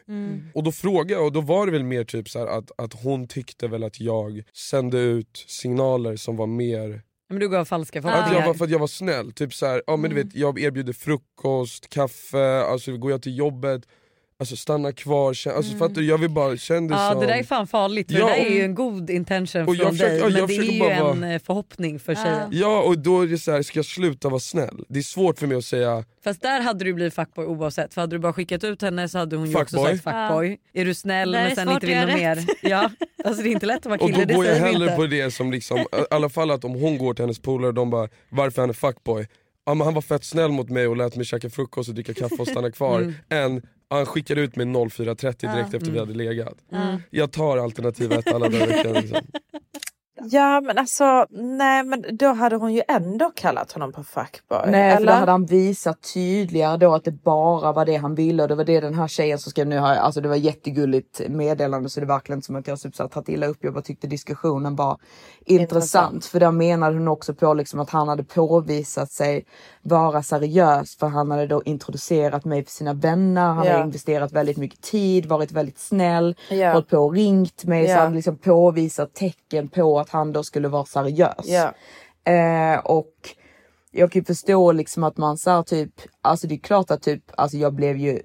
Speaker 5: Och då frågade jag och då var det väl mer typ så här att, att hon tyckte väl att jag sände ut signaler som var mer
Speaker 6: Men du gav falska
Speaker 5: att jag
Speaker 6: förhoppningar.
Speaker 5: var, för att jag var snäll, typ så här, ja, men du vet, jag erbjuder frukost, kaffe, alltså går jag till jobbet, alltså stanna kvar, kä- alltså, fattar du? Jag vill bara känna det
Speaker 6: Ja
Speaker 5: som...
Speaker 6: det där är fan farligt för
Speaker 5: Ja,
Speaker 6: det där är ju
Speaker 5: och-
Speaker 6: en god intention
Speaker 5: och
Speaker 6: från
Speaker 5: jag försöker-
Speaker 6: dig
Speaker 5: ja,
Speaker 6: men
Speaker 5: jag
Speaker 6: det är
Speaker 5: försöker
Speaker 6: ju
Speaker 5: bara
Speaker 6: en
Speaker 5: vara-
Speaker 6: eh, förhoppning för tjejen.
Speaker 5: Ja och då är det så här, ska jag sluta vara snäll? Det är svårt för mig att säga
Speaker 6: Fast där hade du blivit fuckboy oavsett för hade du bara skickat ut henne så hade hon ju också
Speaker 5: Fuckboy.
Speaker 6: sagt fuckboy. Är du snäll
Speaker 7: Där är
Speaker 6: men sen
Speaker 7: svårt
Speaker 6: inte
Speaker 7: att
Speaker 6: vill
Speaker 7: göra
Speaker 6: något mer.
Speaker 7: rätt.
Speaker 6: Ja. Alltså det är inte lätt att vara
Speaker 5: Och
Speaker 6: kille,
Speaker 5: då
Speaker 6: det
Speaker 5: går jag
Speaker 6: säger vi
Speaker 5: hellre
Speaker 6: inte.
Speaker 5: på det som liksom, i alla fall att om hon går till hennes polare och de bara “varför är han är fuckboy?” ja, men han var fett snäll mot mig och lät mig käka frukost och dricka kaffe och stanna kvar
Speaker 6: Mm.
Speaker 5: än han skickade ut mig 04.30 direkt
Speaker 2: Ja.
Speaker 5: efter vi
Speaker 2: Mm.
Speaker 5: hade legat.
Speaker 2: Mm.
Speaker 5: Jag tar alternativ ett alla dagar i veckan. Liksom.
Speaker 2: Ja men alltså, nej men då hade hon ju ändå kallat honom på fuckboy.
Speaker 1: Nej, för
Speaker 2: eller?
Speaker 1: då hade han visat tydligare då att det bara var det han ville och det var det den här tjejen som skrev nu. har jag- Alltså det var jättegulligt meddelande så det var verkligen inte som att jag typ så här tagit illa upp. Jag bara tyckte diskussionen var intressant. För där menade hon också på liksom att han hade påvisat sig vara seriös för han hade då introducerat mig för sina vänner. Han
Speaker 2: Ja.
Speaker 1: hade investerat väldigt mycket tid, varit väldigt snäll,
Speaker 2: Ja.
Speaker 1: hållit på och ringt mig.
Speaker 2: Ja.
Speaker 1: Så han liksom påvisat tecken på att han då skulle vara seriös.
Speaker 2: Ja.
Speaker 1: Eh, och jag kan ju förstå liksom att man så här typ, alltså det är klart att typ, alltså jag blev ju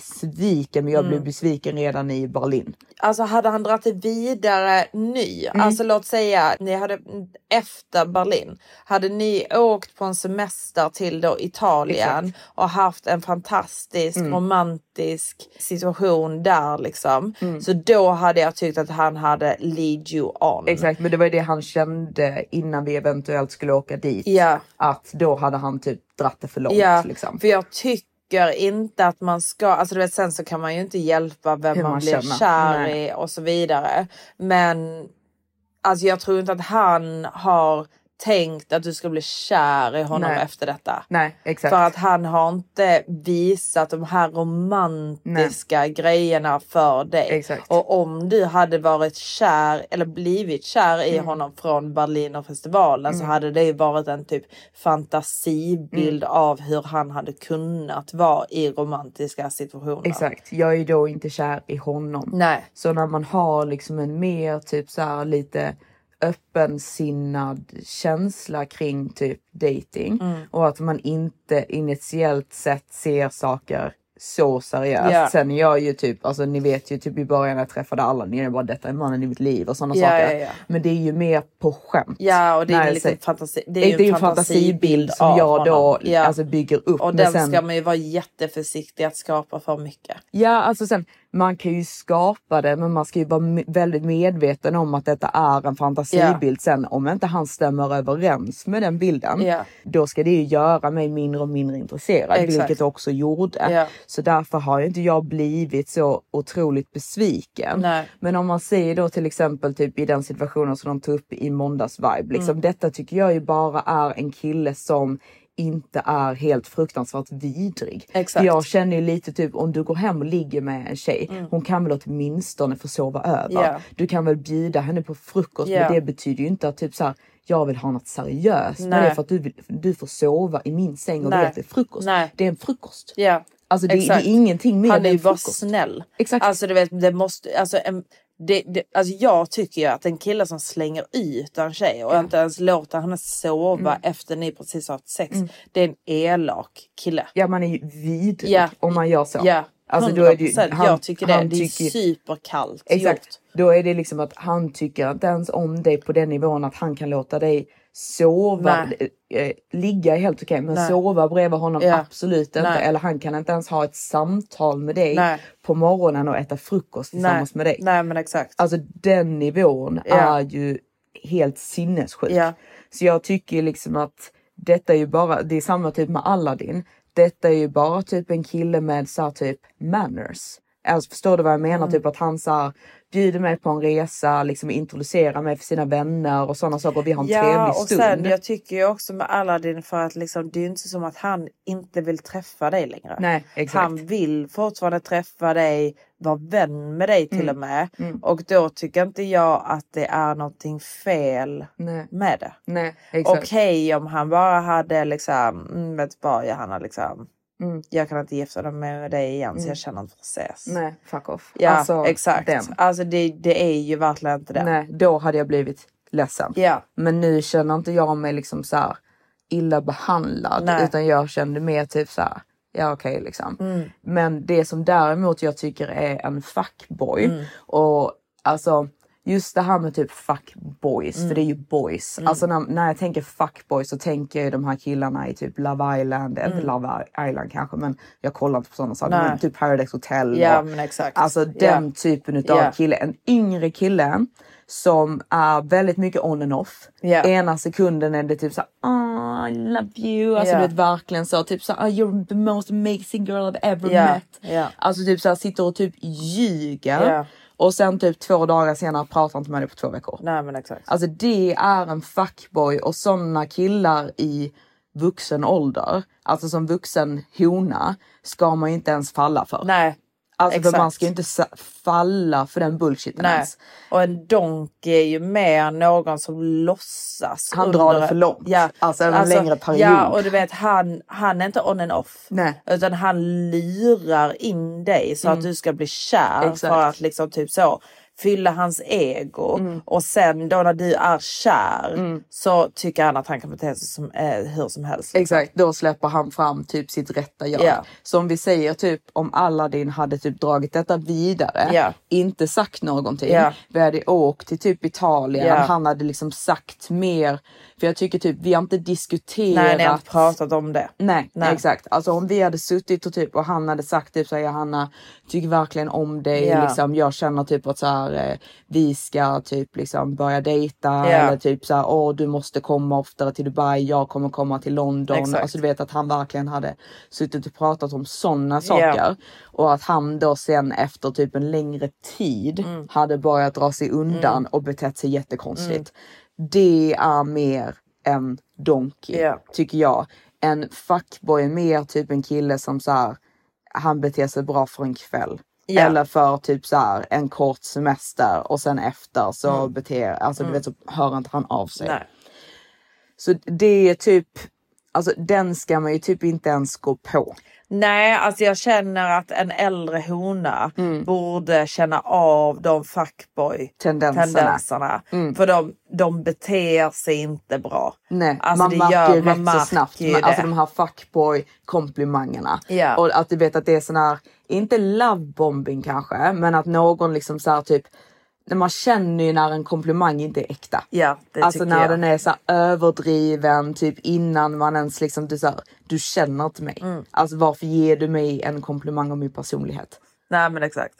Speaker 1: besviken men jag
Speaker 2: Mm.
Speaker 1: blev besviken redan i Berlin.
Speaker 2: Alltså hade han dragit det vidare ny,
Speaker 1: Mm.
Speaker 2: alltså låt säga ni hade efter Berlin, hade ni åkt på en semester till då Italien och haft en fantastisk
Speaker 1: Mm.
Speaker 2: romantisk situation där liksom.
Speaker 1: Mm.
Speaker 2: Så då hade jag tyckt att han hade lead you on.
Speaker 1: Exakt men det var ju det han kände innan vi eventuellt skulle åka dit.
Speaker 2: Ja.
Speaker 1: Att då hade han typ dratt det för långt.
Speaker 2: Ja,
Speaker 1: liksom.
Speaker 2: för jag tycker inte att man ska, alltså du vet sen så kan man ju inte hjälpa vem
Speaker 1: Hur
Speaker 2: man,
Speaker 1: man
Speaker 2: blir
Speaker 1: känner.
Speaker 2: kär
Speaker 1: Nej.
Speaker 2: i och så vidare. Men alltså jag tror inte att han har tänkt att du ska bli kär i honom
Speaker 1: Nej.
Speaker 2: efter detta.
Speaker 1: Nej exakt.
Speaker 2: För att han har inte visat de här romantiska grejerna för dig.
Speaker 1: Exakt.
Speaker 2: Och om du hade varit kär eller blivit kär i
Speaker 1: Mm.
Speaker 2: honom från Berlinerfestivalen så hade det ju varit en typ fantasibild
Speaker 1: Mm.
Speaker 2: av hur han hade kunnat vara i romantiska situationer.
Speaker 1: Exakt, jag är ju då inte kär i honom.
Speaker 2: Nej.
Speaker 1: Så när man har liksom en mer typ så här lite öppensinnad känsla kring typ dating
Speaker 2: Mm.
Speaker 1: och att man inte initiellt sett ser saker så seriöst.
Speaker 2: Ja.
Speaker 1: Sen är jag ju typ, alltså ni vet ju typ i början när jag träffade alla, ni är bara detta är mannen i mitt liv och sådana
Speaker 2: Ja,
Speaker 1: saker.
Speaker 2: ja, ja.
Speaker 1: Men det är ju mer på skämt.
Speaker 2: Ja och det är,
Speaker 1: När
Speaker 2: en
Speaker 1: jag
Speaker 2: liten
Speaker 1: säger-
Speaker 2: fantasi,
Speaker 1: det är ju en fantasibild som
Speaker 2: av
Speaker 1: jag då
Speaker 2: honom. Ja.
Speaker 1: alltså, bygger upp.
Speaker 2: och
Speaker 1: men
Speaker 2: den
Speaker 1: sen-
Speaker 2: ska man ju vara jätteförsiktig att skapa för mycket.
Speaker 1: Ja, alltså sen man kan ju skapa det, men man ska ju vara me- väldigt medveten om att detta är en fantasibild. Sen om inte han stämmer överens med den bilden,
Speaker 2: Ja.
Speaker 1: då ska det ju göra mig mindre och mindre intresserad,
Speaker 2: Exakt.
Speaker 1: vilket det också gjorde.
Speaker 2: Ja.
Speaker 1: Så därför har ju inte jag blivit så otroligt besviken.
Speaker 2: Nej.
Speaker 1: Men om man säger då till exempel typ i den situationen som de tog upp i måndags vibe, liksom
Speaker 2: Mm.
Speaker 1: detta tycker jag ju bara är en kille som inte är helt fruktansvärt vidrig.
Speaker 2: Exakt.
Speaker 1: För jag känner ju lite typ om du går hem och ligger med en tjej, hon kan väl åtminstone få sova över.
Speaker 2: Mm. Ja.
Speaker 1: Du kan väl bjuda henne på frukost
Speaker 2: Ja.
Speaker 1: men det betyder ju inte att typ så här, jag vill ha något seriöst. Men
Speaker 2: Nej.
Speaker 1: det är för att du, vill, du får sova i min säng och
Speaker 2: Nej.
Speaker 1: vet att det är frukost.
Speaker 2: Nej.
Speaker 1: Det är en frukost.
Speaker 2: Ja.
Speaker 1: Alltså det, det är
Speaker 2: Exakt.
Speaker 1: ingenting mer
Speaker 2: Han är
Speaker 1: än
Speaker 2: ju bara
Speaker 1: frukost.
Speaker 2: snäll.
Speaker 1: Exakt.
Speaker 2: Alltså du vet, det måste, alltså, en, det, det, alltså jag tycker ju att en kille som slänger ut en tjej och inte ens låter henne sova
Speaker 1: Mm.
Speaker 2: efter ni precis har haft sex. Det är en elak kille.
Speaker 1: Ja man är ju vidrig
Speaker 2: Ja.
Speaker 1: om man gör så.
Speaker 2: Ja,
Speaker 1: Alltså,
Speaker 2: 100%.
Speaker 1: då är det ju- han-
Speaker 2: jag tycker det.
Speaker 1: han
Speaker 2: det är
Speaker 1: tycker-
Speaker 2: superkallt
Speaker 1: Exakt.
Speaker 2: gjort.
Speaker 1: Då är det liksom att han tycker inte ens om dig på den nivån att han kan låta dig sova. Eh, ligga är helt okej men
Speaker 2: Nej.
Speaker 1: sova bredvid honom
Speaker 2: Ja.
Speaker 1: absolut inte.
Speaker 2: Nej.
Speaker 1: Eller han kan inte ens ha ett samtal med dig
Speaker 2: Nej.
Speaker 1: på morgonen och äta frukost tillsammans med dig.
Speaker 2: Nej men exakt.
Speaker 1: Alltså den nivån
Speaker 2: Ja.
Speaker 1: är ju helt sinnessjuk.
Speaker 2: Ja.
Speaker 1: Så jag tycker ju liksom att detta är ju bara, det är samma typ med Aladdin. Detta är ju bara typ en kille med så här typ manners. Alltså förstår du vad jag menar?
Speaker 2: Mm.
Speaker 1: Typ att han så här, bjuder mig på en resa, liksom introducerar mig för sina vänner och sådana saker. Och vi har en
Speaker 2: Ja
Speaker 1: trevlig
Speaker 2: och
Speaker 1: stund.
Speaker 2: sen jag tycker ju också med Aladdin för att liksom, det är ju inte som att han inte vill träffa dig längre.
Speaker 1: Nej, exakt.
Speaker 2: Han vill fortfarande träffa dig, vara vän med dig
Speaker 1: Mm.
Speaker 2: till och med. Och då tycker inte jag att det är någonting fel
Speaker 1: Nej.
Speaker 2: med det.
Speaker 1: Nej, exakt.
Speaker 2: Okej om han bara hade liksom, mm, vet bara Johanna liksom,
Speaker 1: Mm.
Speaker 2: jag kan inte gifta mig med dig igen så jag känner inte för att ses.
Speaker 1: Nej, fuck off.
Speaker 2: Ja
Speaker 1: Alltså,
Speaker 2: exakt.
Speaker 1: den.
Speaker 2: Alltså det, det är ju verkligen inte det.
Speaker 1: Nej, då hade jag blivit ledsen.
Speaker 2: Ja.
Speaker 1: Men nu känner inte jag mig liksom så här illa behandlad
Speaker 2: Nej.
Speaker 1: utan jag kände mer typ så här, ja okej liksom.
Speaker 2: Mm. Mm.
Speaker 1: Men det som däremot jag tycker är en fuckboy och alltså just det här med typ fuckboys,
Speaker 2: Mm.
Speaker 1: för det är ju boys.
Speaker 2: Mm.
Speaker 1: Alltså när, när jag tänker fuckboys så tänker jag ju de här killarna i typ Love Island, inte Love Island kanske men jag kollar inte på sådana saker,
Speaker 2: Mm. Nej.
Speaker 1: men typ Paradise Hotel.
Speaker 2: Ja,
Speaker 1: och,
Speaker 2: men exakt.
Speaker 1: Alltså den
Speaker 2: Ja.
Speaker 1: typen utav
Speaker 2: Ja.
Speaker 1: kille. En yngre kille som är väldigt mycket on and off.
Speaker 2: Ja.
Speaker 1: Ena sekunden är det typ såhär "Ah, I love you, alltså
Speaker 2: Ja.
Speaker 1: du vet verkligen så. Typ såhär "Ah, you're the most amazing girl I've ever
Speaker 2: Ja.
Speaker 1: met.
Speaker 2: Ja.
Speaker 1: Alltså typ såhär sitter och typ ljuger.
Speaker 2: Ja.
Speaker 1: Och sen typ två dagar senare pratar inte med dig på två veckor.
Speaker 2: Nej men exakt.
Speaker 1: Alltså det är en fuckboy och sådana killar i vuxen ålder, alltså som vuxen hona, ska man ju inte ens falla för.
Speaker 2: Nej.
Speaker 1: Alltså för
Speaker 2: exakt.
Speaker 1: man ska ju inte sa- falla för den bullshiten
Speaker 2: Nej.
Speaker 1: ens.
Speaker 2: Och en donk är ju mer någon som låtsas.
Speaker 1: Han drar det för långt.
Speaker 2: Ja.
Speaker 1: Alltså över en längre period.
Speaker 2: Ja och du vet han, han är inte on and off.
Speaker 1: Nej. Mm.
Speaker 2: Utan han lurar in dig så att du ska bli kär
Speaker 1: Exakt.
Speaker 2: för att liksom typ så fylla hans ego
Speaker 1: Mm.
Speaker 2: och sen då när du är kär så tycker han att han kan bete sig som, eh, hur som helst. liksom.
Speaker 1: Exakt, då släpper han fram typ sitt rätta jag.
Speaker 2: Ja.
Speaker 1: Som vi säger typ om Aladdin hade typ dragit detta vidare,
Speaker 2: Ja.
Speaker 1: inte sagt någonting.
Speaker 2: Ja.
Speaker 1: Vi hade åkt till typ Italien,
Speaker 2: Ja.
Speaker 1: han hade liksom sagt mer. För jag tycker typ vi har inte diskuterat.
Speaker 2: Nej, ni har inte pratat om det.
Speaker 1: Nej,
Speaker 2: Nej.
Speaker 1: exakt. Alltså om vi hade suttit och typ och han hade sagt typ såhär Johanna, tycker verkligen om dig.
Speaker 2: Ja.
Speaker 1: Liksom, jag känner typ att såhär, eh, vi ska typ liksom börja dejta
Speaker 2: Ja.
Speaker 1: eller typ såhär, åh du måste komma oftare till Dubai, jag kommer komma till London.
Speaker 2: Exakt.
Speaker 1: Alltså du vet att han verkligen hade suttit och pratat om sådana saker. Och att han då sen efter typ en längre tid
Speaker 2: Mm.
Speaker 1: hade börjat dra sig undan och betett sig jättekonstigt. Det är mer en donkey
Speaker 2: Mm. Ja.
Speaker 1: tycker jag. En fuckboy är mer typ en kille som så här, han beter sig bra för en kväll.
Speaker 2: Ja.
Speaker 1: Eller för typ så här en kort semester och sen efter så beter, alltså du vet så hör inte han av sig.
Speaker 2: Mm. Nej.
Speaker 1: Så det är typ, alltså den ska man ju typ inte ens gå på.
Speaker 2: Nej, alltså jag känner att en äldre hona
Speaker 1: Mm.
Speaker 2: borde känna av de fuckboy
Speaker 1: Tendenserna. Mm.
Speaker 2: tendenserna. För de, de beter sig inte bra.
Speaker 1: Nej,
Speaker 2: Alltså
Speaker 1: man
Speaker 2: det
Speaker 1: märker
Speaker 2: gör-
Speaker 1: ju
Speaker 2: man
Speaker 1: rätt så
Speaker 2: märker
Speaker 1: snabbt.
Speaker 2: ju
Speaker 1: Men, alltså
Speaker 2: det.
Speaker 1: de här fuckboy komplimangerna.
Speaker 2: Ja.
Speaker 1: Och att du vet att det är sån här, inte lovebombing kanske, men att någon liksom så här typ, när man känner ju när en komplimang inte är äkta.
Speaker 2: Ja, det
Speaker 1: alltså
Speaker 2: tycker
Speaker 1: när
Speaker 2: jag.
Speaker 1: den är så här överdriven, typ innan man ens liksom, du, så här, du känner inte mig.
Speaker 2: Mm.
Speaker 1: Alltså varför ger du mig en komplimang om min personlighet?
Speaker 2: Nej men exakt.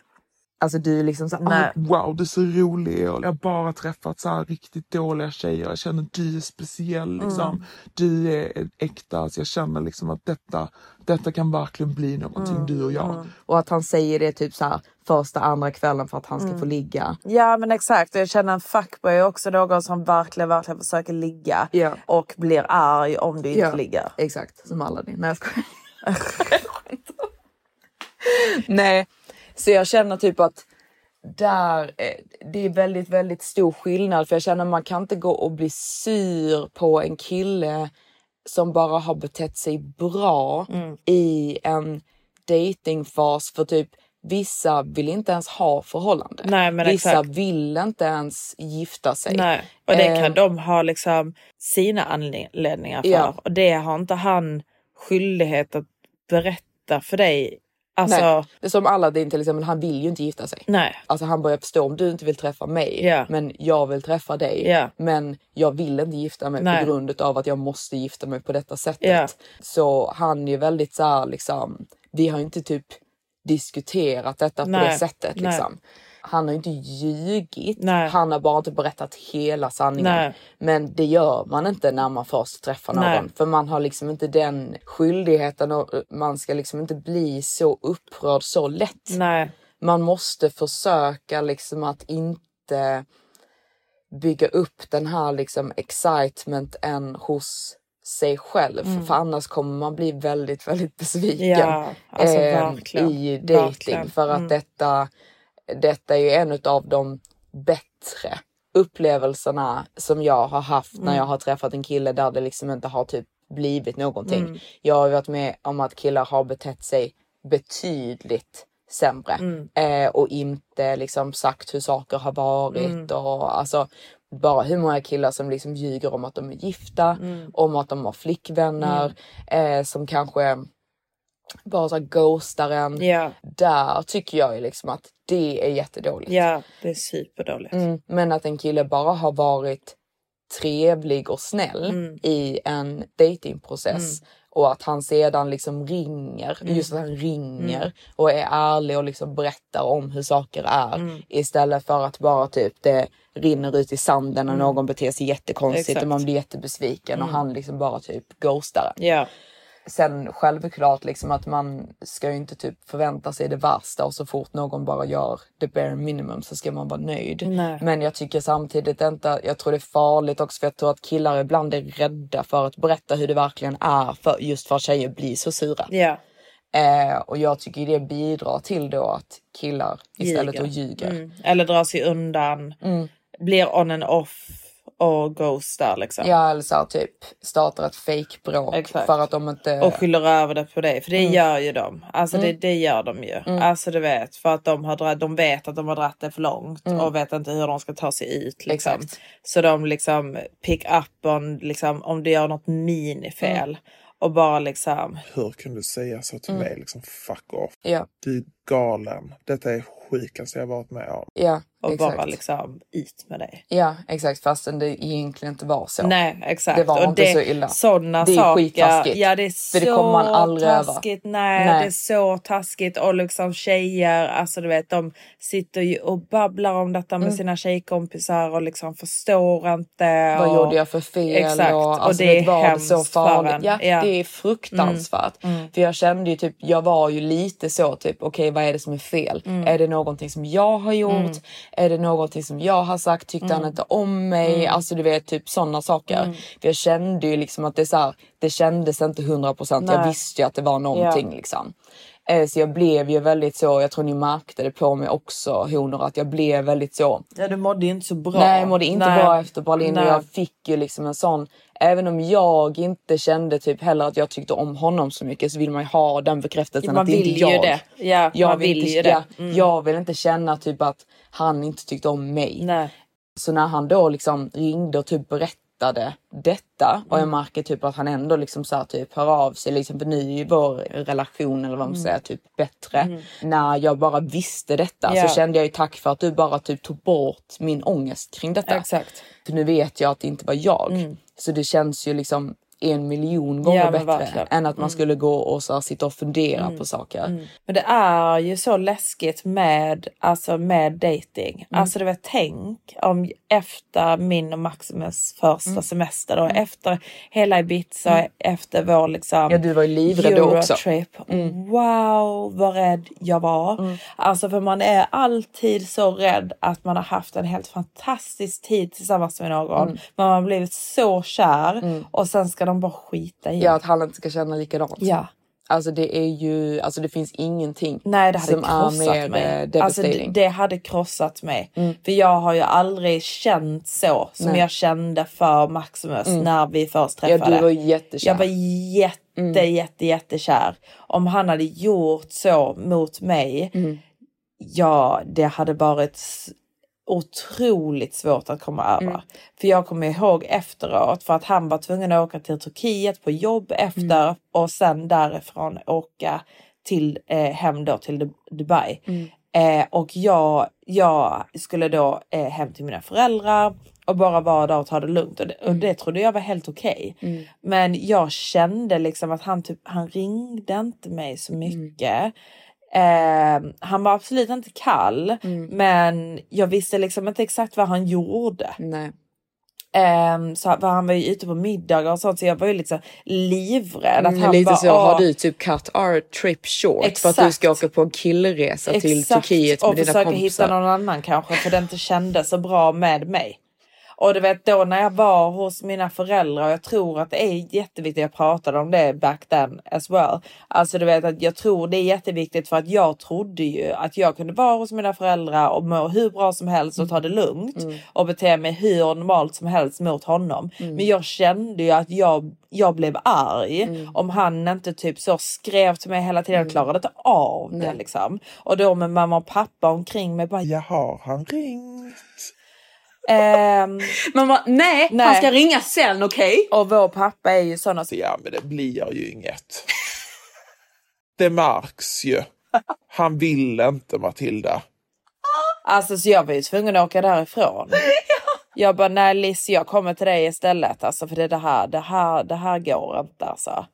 Speaker 1: Alltså du är liksom så här,
Speaker 2: Nej.
Speaker 3: Wow, du är så rolig. Och jag har bara träffat så här riktigt dåliga tjejer. Jag känner du är speciell. Liksom. Du är äkta. Alltså, jag känner liksom att detta, detta kan verkligen bli någonting, du och jag.
Speaker 1: och att han säger det typ så här första, andra kvällen för att han ska
Speaker 2: Mm.
Speaker 1: få ligga.
Speaker 2: Ja men exakt och jag känner en fuckboy är också någon som verkligen, verkligen försöker ligga
Speaker 1: Ja.
Speaker 2: och blir arg om du inte
Speaker 1: Ja,
Speaker 2: ligger.
Speaker 1: Exakt, som Aladdin. Nej jag skojar. <laughs> Jag skämtar. Nej, så jag känner typ att där, eh, det är väldigt, väldigt stor skillnad för jag känner man kan inte gå och bli sur på en kille som bara har betett sig bra i en datingfas för typ vissa vill inte ens ha förhållande.
Speaker 2: Nej, men
Speaker 1: vissa
Speaker 2: exakt.
Speaker 1: vill inte ens gifta sig.
Speaker 2: Nej. Och det
Speaker 1: Eh,
Speaker 2: kan de ha liksom sina anledningar för.
Speaker 1: Ja.
Speaker 2: Och det har inte han skyldighet att berätta för dig. Alltså,
Speaker 1: Nej.
Speaker 2: nej.
Speaker 1: Det är som Aladdin till exempel, han vill ju inte gifta sig. Alltså han börjar förstå om du inte vill träffa mig
Speaker 2: Ja.
Speaker 1: men jag vill träffa dig
Speaker 2: Ja.
Speaker 1: men jag vill inte gifta mig
Speaker 2: Nej.
Speaker 1: på grund av att jag måste gifta mig på detta sättet.
Speaker 2: Ja.
Speaker 1: Så han är ju väldigt så här, liksom, vi har ju inte typ diskuterat detta på det
Speaker 2: Nej.
Speaker 1: sättet.
Speaker 2: Nej.
Speaker 1: Liksom. Han har ju inte ljugit,
Speaker 2: Nej.
Speaker 1: han har bara inte berättat hela sanningen.
Speaker 2: Nej.
Speaker 1: Men det gör man inte när man först träffar någon
Speaker 2: Nej.
Speaker 1: för man har liksom inte den skyldigheten och man ska liksom inte bli så upprörd så lätt
Speaker 2: Nej.
Speaker 1: man måste försöka liksom att inte bygga upp den här liksom excitementen hos sig själv för annars kommer man bli väldigt väldigt besviken
Speaker 2: Ja, alltså verkligen.
Speaker 1: Ehm, i dating
Speaker 2: Verkligen.
Speaker 1: för att
Speaker 2: Mm.
Speaker 1: detta, detta är ju en av de bättre upplevelserna som jag har haft
Speaker 2: Mm.
Speaker 1: när jag har träffat en kille där det liksom inte har typ blivit någonting.
Speaker 2: Mm.
Speaker 1: Jag har ju varit med om att killar har betett sig betydligt sämre
Speaker 2: Mm.
Speaker 1: eh, och inte liksom sagt hur saker har varit
Speaker 2: Mm.
Speaker 1: och alltså bara hur många killar som liksom ljuger om att de är gifta, om att de har flickvänner eh, som kanske bara så här ghostar en.
Speaker 2: Ja.
Speaker 1: Där tycker jag ju liksom att det är jättedåligt.
Speaker 2: Ja, det är superdåligt.
Speaker 1: Mm, men att en kille bara har varit trevlig och snäll i en datingprocess och att han sedan liksom ringer, just att han ringer och är ärlig och liksom berättar om hur saker är istället för att bara typ det rinner ut i sanden och någon beter sig jättekonstigt
Speaker 2: Exakt.
Speaker 1: och man blir jättebesviken och han liksom bara typ ghostar en.
Speaker 2: Ja.
Speaker 1: Sen självklart liksom att man ska ju inte typ förvänta sig det värsta och så fort någon bara gör the bare minimum så ska man vara nöjd.
Speaker 2: Nej.
Speaker 1: Men jag tycker samtidigt inte, jag tror det är farligt också för jag tror att killar ibland är rädda för att berätta hur det verkligen är för, just för att tjejer blir så sura.
Speaker 2: Ja.
Speaker 1: Eh, och jag tycker ju det bidrar till då att killar istället
Speaker 2: Ljuger.
Speaker 1: och ljuger.
Speaker 2: Mm. Eller drar sig undan.
Speaker 1: Mm.
Speaker 2: Blir on and off och ghostar liksom.
Speaker 1: Ja eller såhär typ startar ett fejkbråk
Speaker 2: Exakt.
Speaker 1: för att de inte...
Speaker 2: Och skyller över det på dig. För
Speaker 1: Mm.
Speaker 2: det gör ju de. Alltså det, det gör de ju. Alltså du vet. För att de, har dra- de vet att de har dragit det för långt. Och vet inte hur de ska ta sig ut. Liksom.
Speaker 1: Mm. Exakt.
Speaker 2: Så de liksom pick up on liksom, om du gör något minifel.
Speaker 1: Mm.
Speaker 2: Och bara liksom.
Speaker 3: Hur kan du säga så till mig? Liksom, fuck off.
Speaker 1: Ja,
Speaker 3: Du är galen. Detta är sjukaste jag varit med om.
Speaker 1: ja,
Speaker 2: Och
Speaker 1: exakt.
Speaker 2: bara liksom ut med dig.
Speaker 1: Ja exakt fastän det egentligen inte var så.
Speaker 2: Nej exakt.
Speaker 1: Det var
Speaker 2: och
Speaker 1: inte
Speaker 2: det,
Speaker 1: så illa.
Speaker 2: Sådana
Speaker 1: Det är
Speaker 2: saker.
Speaker 1: skittaskigt.
Speaker 2: Ja det är
Speaker 1: För
Speaker 2: så
Speaker 1: det kommer man aldrig över.
Speaker 2: taskigt. Nej,
Speaker 1: Nej.
Speaker 2: det är så taskigt. Och liksom tjejer, alltså du vet de sitter ju och babblar om detta
Speaker 1: Mm.
Speaker 2: med sina tjejkompisar och liksom förstår inte.
Speaker 1: Vad
Speaker 2: Eh, och...
Speaker 1: gjorde jag för fel?
Speaker 2: Exakt.
Speaker 1: Och, alltså,
Speaker 2: det är
Speaker 1: vet, var det
Speaker 2: hemskt
Speaker 1: så
Speaker 2: för en.
Speaker 1: farligt? Ja,
Speaker 2: Ja. Mm.
Speaker 1: det är fruktansvärt. För jag kände ju typ, jag var ju lite så typ, okej vad är det som är fel?
Speaker 2: Mm.
Speaker 1: Är det någonting som jag har gjort? Är det någonting som jag har sagt? Tyckte
Speaker 2: Mm.
Speaker 1: han inte om mig? Alltså du vet typ sådana saker. För jag kände ju liksom att det är så här, det kändes inte 100%. Jag visste ju att det var någonting liksom. Eh, Så jag blev ju väldigt så, jag tror ni märkte det på mig också honor, att jag blev väldigt så
Speaker 2: Ja du mådde ju inte så bra.
Speaker 1: Nej, jag mådde inte
Speaker 2: Nej.
Speaker 1: bra efter Berlin och
Speaker 2: Nej.
Speaker 1: jag fick ju liksom en sån... Även om jag inte kände typ heller att jag tyckte om honom så mycket så vill man ju ha den bekräftelsen
Speaker 2: Man
Speaker 1: att det inte är
Speaker 2: vill ju
Speaker 1: jag.
Speaker 2: det. Ja,
Speaker 1: jag
Speaker 2: man vill
Speaker 1: inte,
Speaker 2: ju det. Mm.
Speaker 1: ja, Jag vill inte känna typ att han inte tyckte om mig.
Speaker 2: Nej.
Speaker 1: Så när han då liksom ringde och typ berättade detta och
Speaker 2: Mm.
Speaker 1: jag märker typ att han ändå liksom så här typ hör av sig liksom för nu är ju vår relation eller
Speaker 2: Mm.
Speaker 1: vad man säger typ bättre. När jag bara visste detta
Speaker 2: Ja.
Speaker 1: så kände jag ju tack för att du bara typ tog bort min ångest kring detta.
Speaker 2: Exakt.
Speaker 1: För nu vet jag att det inte var jag. Så det känns ju liksom en miljon gånger
Speaker 2: Mm. Ja, men
Speaker 1: bättre
Speaker 2: verkligen. Mm.
Speaker 1: än att man skulle gå och så här sitta och fundera på saker.
Speaker 2: Men det är ju så läskigt med, alltså med dating.
Speaker 1: Mm.
Speaker 2: Alltså du vet, tänk om efter min och Maximus första
Speaker 1: Mm.
Speaker 2: semester och efter hela Ibiza, efter vår liksom
Speaker 1: Ja, du var ju livrädd då också. Mm.
Speaker 2: Eurotrip. Wow vad rädd jag var. Alltså för man är alltid så rädd att man har haft en helt fantastisk tid tillsammans med någon.
Speaker 1: Mm.
Speaker 2: Man har blivit så kär och sen ska de bara skita i
Speaker 1: Ja,
Speaker 2: en.
Speaker 1: att han inte ska känna likadant.
Speaker 2: ja.
Speaker 1: Alltså det är ju, alltså det finns ingenting
Speaker 2: Nej, det hade
Speaker 1: som är
Speaker 2: krossat
Speaker 1: mer eh, Mm.
Speaker 2: mig. Alltså,
Speaker 1: devastating.
Speaker 2: det, det hade krossat mig. För jag har ju aldrig känt så som jag kände för Maximus när vi först
Speaker 1: Mm. ja,
Speaker 2: träffade.
Speaker 1: du var ju jättekär. Mm.
Speaker 2: Jag var jätte, jätte, jättekär. Om han hade gjort så mot mig,
Speaker 1: Mm.
Speaker 2: ja, det hade varit s- otroligt svårt att komma över. För jag kommer ihåg efteråt, för att han var tvungen att åka till Turkiet på jobb efter och sen därifrån åka till, eh, hem då till Du- Dubai. Eh, och jag, jag skulle då eh, hem till mina föräldrar och bara vara där och ta det lugnt. Och det, och det trodde jag var helt okej. Men jag kände liksom att han, typ, han ringde inte mig så mycket. Eh, han var absolut inte kall
Speaker 1: Mm.
Speaker 2: men jag visste liksom inte exakt vad han gjorde.
Speaker 1: Nej.
Speaker 2: Ehm, så han, för han var ju ute på middagar och sånt så jag var ju liksom livrädd. Att
Speaker 1: Mm,
Speaker 2: han
Speaker 1: lite
Speaker 2: bara,
Speaker 1: så, har
Speaker 2: "Åh,
Speaker 1: du typ cut our trip short för att du
Speaker 2: Exakt.
Speaker 1: ska åka på en killresa till Turkiet
Speaker 2: och
Speaker 1: med dina
Speaker 2: försöka hitta
Speaker 1: kompisar?
Speaker 2: någon annan kanske för det inte kändes så bra med mig. Och du vet då när jag var hos mina föräldrar, och jag tror att det är jätteviktigt, jag pratade om det back then as well. Alltså du vet att jag tror det är jätteviktigt för att jag trodde ju att jag kunde vara hos mina föräldrar och må hur bra som helst och ta det lugnt och bete mig hur normalt som helst mot honom. Men jag kände ju att jag, jag blev arg om han inte typ så skrev till mig hela tiden, jag klarade inte av det liksom. Och då med mamma och pappa omkring mig bara
Speaker 3: Jag har han ringt?
Speaker 2: ehm,
Speaker 1: Mamma, nej,
Speaker 2: Nej.
Speaker 1: han ska ringa sen, okej?
Speaker 2: Och vår pappa är ju sån alltså, att
Speaker 3: Så ja, men det blir ju inget. Det märks ju. Han vill inte Matilda.
Speaker 2: Alltså så jag var ju tvungen att
Speaker 1: <laughs>
Speaker 2: åka därifrån. Jag bara, nej Liss jag kommer till dig istället alltså för det, är det här, det här, det här går inte alltså.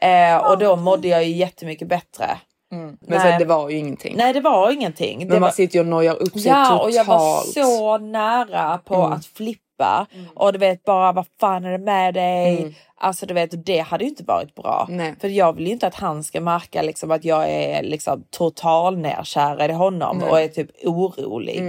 Speaker 2: Eh, och då mådde jag ju jättemycket bättre.
Speaker 1: Men
Speaker 2: Nej.
Speaker 1: sen, det var ju ingenting.
Speaker 2: Nej det var ingenting. Det
Speaker 1: Mm. Men
Speaker 2: var...
Speaker 1: man sitter ju och nojar upp sig
Speaker 2: Ja
Speaker 1: totalt. Mm.
Speaker 2: och jag var så nära på att flippa och du vet bara vad fan är det med dig? Alltså du vet det hade ju inte varit bra.
Speaker 1: Mm. Nej.
Speaker 2: För jag vill ju inte att han ska märka liksom att jag är liksom total nerkär i honom och är typ orolig.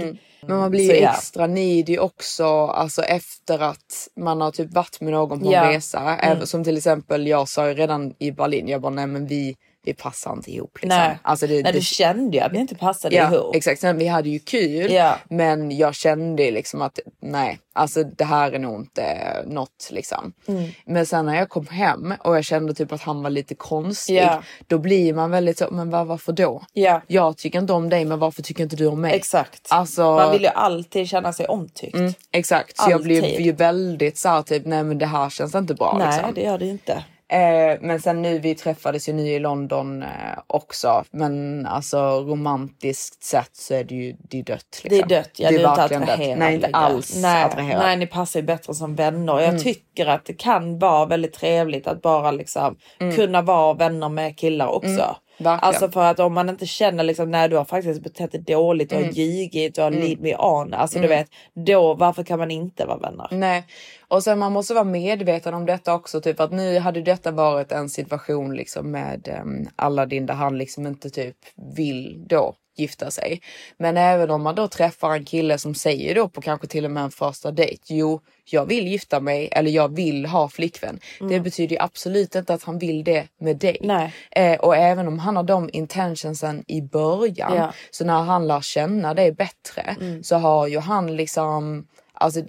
Speaker 1: Men man blir ju
Speaker 2: Mm, Så, ja.
Speaker 1: extra needy också alltså efter att man har typ varit med någon på en
Speaker 2: Ja. Mm.
Speaker 1: resa. Även, som till exempel jag sa ju redan i Berlin, jag bara nej men vi, vi passar inte ihop. Liksom.
Speaker 2: Nej.
Speaker 1: Alltså, det,
Speaker 2: Nej,
Speaker 1: det,
Speaker 2: du kände ju att ni inte passade
Speaker 1: ja,
Speaker 2: ihop.
Speaker 1: Exakt, sen vi hade ju kul
Speaker 2: Ja.
Speaker 1: men jag kände ju liksom att nej, alltså det här är nog inte något liksom.
Speaker 2: Mm.
Speaker 1: Men sen när jag kom hem och jag kände typ att han var lite konstig,
Speaker 2: Ja.
Speaker 1: då blir man väldigt så, men vad, varför då?
Speaker 2: Ja.
Speaker 1: Jag tycker inte om dig men varför tycker inte du om mig?
Speaker 2: Exakt.
Speaker 1: Alltså, Mm.
Speaker 2: Man vill ju alltid känna sig omtyckt.
Speaker 1: Exakt, så jag blev
Speaker 2: Alltid.
Speaker 1: ju väldigt såhär typ nej men det här känns inte bra
Speaker 2: typ. Nej,
Speaker 1: liksom.
Speaker 2: det gör det ju inte.
Speaker 1: Eh, men sen nu, vi träffades ju nu i London eh, också. Men alltså romantiskt sett så är det ju det är dött.
Speaker 2: Det är
Speaker 1: Liksom.
Speaker 2: dött, ja, du är inte
Speaker 1: verkligen dött.
Speaker 2: attraherad.
Speaker 1: Nej, inte
Speaker 2: längre.
Speaker 1: alls Mm.
Speaker 2: nej,
Speaker 1: attraherad.
Speaker 2: Nej, ni passar ju bättre som vänner. Jag tycker att det kan vara väldigt trevligt att bara liksom kunna vara vänner med killar också.
Speaker 1: Mm. verkligen.
Speaker 2: Alltså för att om man inte känner liksom när du har faktiskt betett dig dåligt,
Speaker 1: Mm.
Speaker 2: du har ljugit, du har lead me on. Alltså du vet, då varför kan man inte vara vänner?
Speaker 1: Nej. Och sen man måste vara medveten om detta också. Typ att nu hade detta varit en situation liksom med um, Aladdin där han liksom inte typ vill då gifta sig. Men även om man då träffar en kille som säger då på kanske till och med en första dejt. Jo, jag vill gifta mig eller jag vill ha flickvän. Det betyder ju absolut inte att han vill det med dig.
Speaker 2: Mm. Nej.
Speaker 1: Eh, och även om han har de intentionsen i början.
Speaker 2: Ja.
Speaker 1: Så när han lär känna dig bättre
Speaker 2: Mm.
Speaker 1: så har ju han liksom alltså,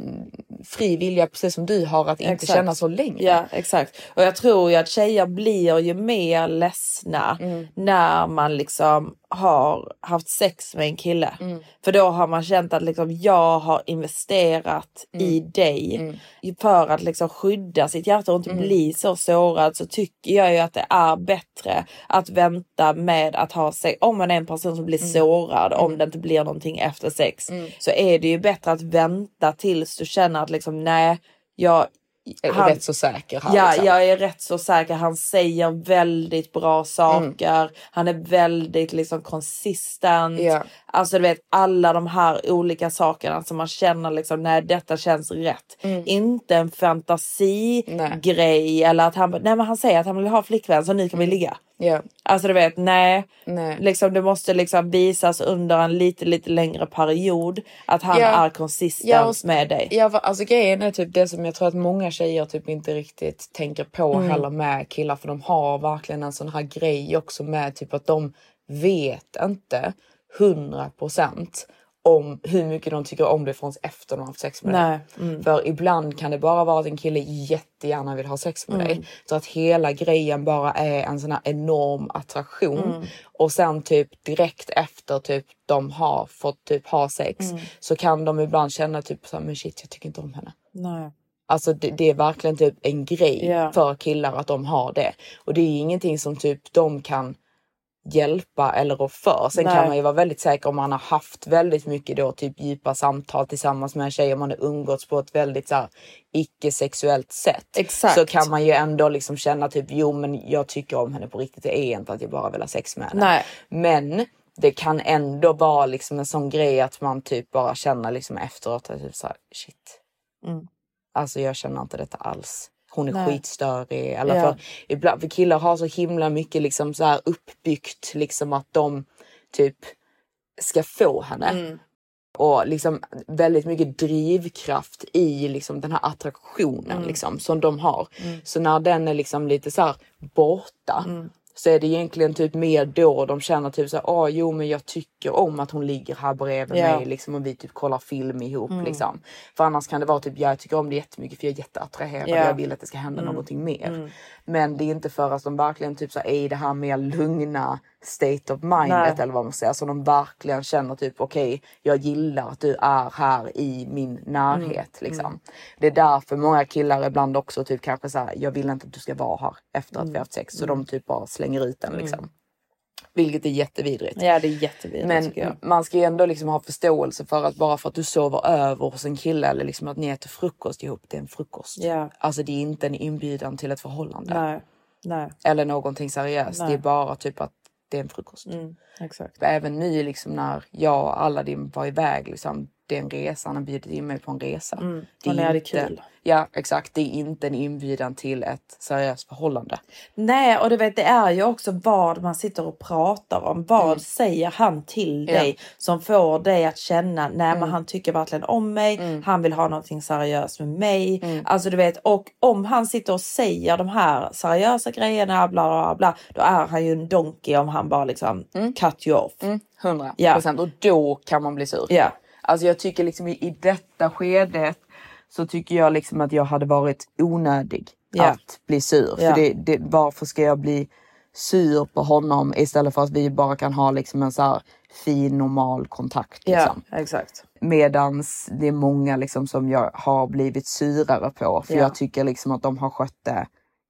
Speaker 1: fri vilja precis som du har att inte
Speaker 2: Exakt.
Speaker 1: känna så länge.
Speaker 2: Ja exakt. Och jag tror ju att tjejer blir ju mer ledsna
Speaker 1: Mm.
Speaker 2: när man liksom har haft sex med en kille.
Speaker 1: Mm.
Speaker 2: För då har man känt att liksom jag har investerat
Speaker 1: Mm.
Speaker 2: i dig. För att liksom skydda sitt hjärta och inte
Speaker 1: Mm.
Speaker 2: bli så sårad så tycker jag ju att det är bättre att vänta med att ha sex. Om man är en person
Speaker 1: Mm.
Speaker 2: som blir sårad om det inte blir någonting efter sex så är det ju bättre att vänta tills du känner att liksom nej jag
Speaker 1: Är
Speaker 2: han-
Speaker 1: rätt så säker här.
Speaker 2: Ja,
Speaker 1: liksom.
Speaker 2: jag är rätt så säker. Han säger väldigt bra saker. Han är väldigt liksom consistent.
Speaker 1: Mm. Ja.
Speaker 2: Alltså du vet alla de här olika sakerna som man känner liksom när detta känns rätt. Inte en
Speaker 1: Mm. Nej.
Speaker 2: fantasigrej eller att han bara, nej men han säger att han vill ha flickvän så nu kan vi ligga.
Speaker 1: Ja.
Speaker 2: Alltså du vet, nej.
Speaker 1: Nej.
Speaker 2: Liksom, det måste liksom visas under en lite, lite längre period att han
Speaker 1: Ja.
Speaker 2: är konsistent
Speaker 1: Ja, och s-
Speaker 2: med dig.
Speaker 1: Ja, va- alltså grejen är typ det som jag tror att många tjejer typ inte riktigt tänker på
Speaker 2: Mm.
Speaker 1: heller med killar för de har verkligen en sån här grej också med typ att de vet inte 100 procent om hur mycket de tycker om det förrän efter de har haft sex med
Speaker 2: Nej,
Speaker 1: dig. Mm. För ibland kan det bara vara att en kille jättegärna vill ha sex med dig. Så att hela grejen bara är en sån här enorm attraktion. Och sen typ direkt efter typ de har fått typ ha sex så kan de ibland känna typ så här, men shit jag tycker inte om henne.
Speaker 2: Nej.
Speaker 1: Alltså det, det är verkligen typ en grej
Speaker 2: Ja.
Speaker 1: för killar att de har det. Och det är ju ingenting som typ de kan hjälpa eller rå för. Sen
Speaker 2: Nej.
Speaker 1: kan man ju vara väldigt säker om man har haft väldigt mycket då typ djupa samtal tillsammans med en tjej och man har umgåtts på ett väldigt så här, icke-sexuellt sätt.
Speaker 2: Exakt.
Speaker 1: Så kan man ju ändå liksom känna typ jo men jag tycker om henne på riktigt. Det är inte att jag bara vill ha sex med henne.
Speaker 2: Nej.
Speaker 1: Men det kan ändå vara liksom en sån grej att man typ bara känner liksom efteråt att typ så här, shit. Alltså jag känner inte detta alls. Hon är
Speaker 2: Mm. Nej.
Speaker 1: skitstörig. Eller
Speaker 2: Ja.
Speaker 1: för, ibland, för killar har så himla mycket liksom så här uppbyggt liksom att de typ ska få henne. Och liksom väldigt mycket drivkraft i liksom den här attraktionen liksom, som de har. Så när den är liksom lite så här borta så är det egentligen typ mer då de känner typ så här, ah, jo men jag tycker om att hon ligger här bredvid
Speaker 2: Ja.
Speaker 1: mig liksom, och vi typ kollar film ihop.
Speaker 2: Mm.
Speaker 1: Liksom. För annars kan det vara typ, ja, jag tycker om det jättemycket för jag är jätteattraherad
Speaker 2: Ja. Mm.
Speaker 1: jag vill att det ska hända någonting mer. Men det är inte förrän de verkligen typ så här, är i det här mer lugna state of mindet
Speaker 2: Nej.
Speaker 1: eller vad man säger, som de verkligen känner typ okej, jag gillar att du är här i min närhet.
Speaker 2: Mm,
Speaker 1: Liksom. Det är därför många killar ibland
Speaker 2: Mm,
Speaker 1: också typ kanske så här, jag vill inte att du ska vara här efter att vi har haft sex. Så de typ bara slänger ut den liksom. Vilket är jättevidrigt.
Speaker 2: Ja, det är jättevidrigt
Speaker 1: Men
Speaker 2: tycker jag.
Speaker 1: man ska ju ändå liksom ha förståelse för att bara för att du sover över hos en kille eller liksom att ni äter frukost ihop, det är en frukost.
Speaker 2: Ja.
Speaker 1: Alltså det är inte en inbjudan till ett förhållande.
Speaker 2: Nej, nej,
Speaker 1: Eller någonting seriöst.
Speaker 2: Nej. Mm.
Speaker 1: Det är bara typ att det är en frukost.
Speaker 2: exakt.
Speaker 1: Även nu liksom när jag och Aladdin var iväg, liksom, det är en resa, han har bjudit in mig på en resa.
Speaker 2: Mm. och ni
Speaker 1: är
Speaker 2: hade
Speaker 1: inte,
Speaker 2: kul.
Speaker 1: Ja exakt, det är inte en inbjudan till ett seriöst förhållande.
Speaker 2: Nej, och du vet det är ju också vad man sitter och pratar om. Vad säger han till
Speaker 1: Ja.
Speaker 2: dig som får dig att känna, nej men han tycker verkligen om mig, han vill ha någonting seriöst med mig. Alltså du vet, och om han sitter och säger de här seriösa grejerna, bla bla bla, då är han ju en donkey om han bara liksom cut you off.
Speaker 1: 100
Speaker 2: Mm. Ja.
Speaker 1: procent. Och då kan man bli sur.
Speaker 2: Ja.
Speaker 1: Alltså jag tycker liksom i, i detta skedet så tycker jag liksom att jag hade varit onödig
Speaker 2: Ja.
Speaker 1: att bli sur.
Speaker 2: Ja.
Speaker 1: För det, det, varför ska jag bli sur på honom istället för att vi bara kan ha liksom en så här fin normal kontakt.
Speaker 2: Ja,
Speaker 1: Liksom.
Speaker 2: exakt.
Speaker 1: Medans det är många liksom som jag har blivit surare på för
Speaker 2: Ja.
Speaker 1: jag tycker liksom att de har skött det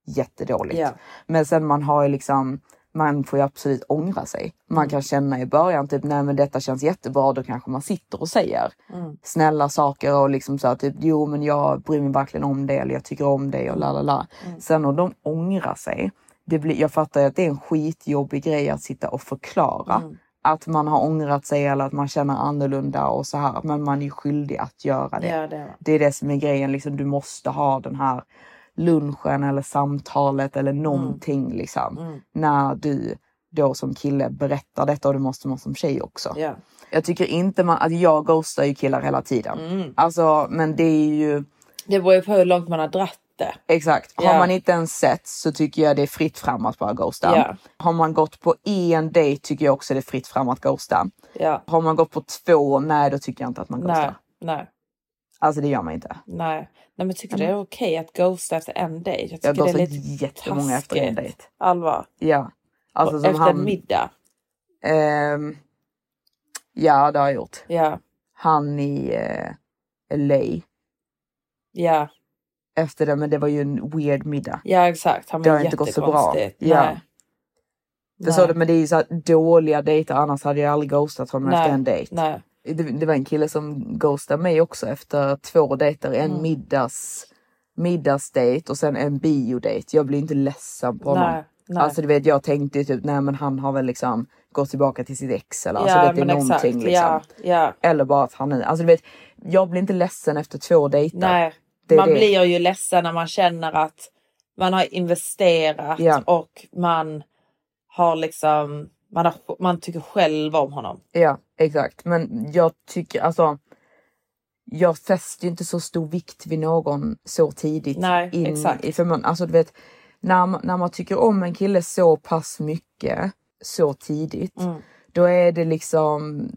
Speaker 1: jättedåligt.
Speaker 2: Ja.
Speaker 1: Men sen man har ju liksom, man får ju absolut ångra sig. Man
Speaker 2: Mm.
Speaker 1: kan känna i början typ, nej men detta känns jättebra, då kanske man sitter och säger snälla saker och liksom så här, typ, jo men jag bryr mig verkligen om dig eller jag tycker om dig och la la la. Sen om de ångrar sig, det blir, jag fattar ju att det är en skitjobbig grej att sitta och förklara. Att man har ångrat sig eller att man känner annorlunda och så här. Men man är ju skyldig att göra det.
Speaker 2: Ja, det är man.
Speaker 1: det är det som är grejen. Liksom, du måste ha den här lunchen eller samtalet eller någonting liksom. När du då som kille berättar detta och det måste man som tjej också.
Speaker 2: Ja.
Speaker 1: Jag tycker inte man, att jag ghostar ju killar hela tiden.
Speaker 2: Mm.
Speaker 1: Alltså men det är ju
Speaker 2: Det beror ju på hur långt man har dratt det.
Speaker 1: Exakt.
Speaker 2: Ja.
Speaker 1: Har man inte ens sett så tycker jag det är fritt fram att bara ghosta.
Speaker 2: Ja.
Speaker 1: Har man gått på en dejt tycker jag också det är fritt fram att ghosta.
Speaker 2: Ja.
Speaker 1: Har man gått på två, nej då tycker jag inte att man ghostar.
Speaker 2: Nej, nej.
Speaker 1: Alltså det gör man inte.
Speaker 2: Nej. Nej men tycker du
Speaker 1: Mm.
Speaker 2: det är okej att ghosta efter en dejt? Jag
Speaker 1: Jag
Speaker 2: tycker det
Speaker 1: ghostar
Speaker 2: är lite
Speaker 1: jättemånga efter en
Speaker 2: taskigt.
Speaker 1: dejt.
Speaker 2: Allvar.
Speaker 1: Ja. Alltså som
Speaker 2: efter en
Speaker 1: han...
Speaker 2: middag.
Speaker 1: ehm, ja det har jag gjort.
Speaker 2: Ja,
Speaker 1: Han i eh, LA
Speaker 2: ja,
Speaker 1: efter det men det var ju en weird middag.
Speaker 2: ja exakt. Han
Speaker 1: Det har
Speaker 2: var
Speaker 1: inte gått så bra.
Speaker 2: jättekonstigt.
Speaker 1: Ja.
Speaker 2: Nej.
Speaker 1: Förstår du? Men det är ju så här dåliga dejter annars hade jag aldrig ghostat honom
Speaker 2: Nej.
Speaker 1: efter en dejt.
Speaker 2: Nej.
Speaker 1: det, det var en kille som ghostade mig också efter två dejter. En
Speaker 2: Mm.
Speaker 1: middags, middagsdejt och sen en biodejt. Jag blev inte ledsen på honom.
Speaker 2: Nej, nej.
Speaker 1: Alltså du vet jag tänkte ju typ nej men han har väl liksom gått tillbaka till sitt ex eller
Speaker 2: Ja,
Speaker 1: alltså, vet, det
Speaker 2: men
Speaker 1: är
Speaker 2: exakt.
Speaker 1: någonting liksom.
Speaker 2: Ja, ja.
Speaker 1: Eller bara att han är, alltså du vet jag blir inte ledsen efter två dejter.
Speaker 2: Nej.
Speaker 1: Det är
Speaker 2: man
Speaker 1: det.
Speaker 2: blir ju ledsen när man känner att man har investerat
Speaker 1: Ja.
Speaker 2: och man har liksom man, har, man tycker själv om honom.
Speaker 1: Ja exakt men jag tycker alltså jag fäster ju inte så stor vikt vid någon så tidigt.
Speaker 2: Nej,
Speaker 1: in
Speaker 2: exakt.
Speaker 1: I, för man, alltså du vet, när, man- när man tycker om en kille så pass mycket så tidigt
Speaker 2: Mm.
Speaker 1: då är det liksom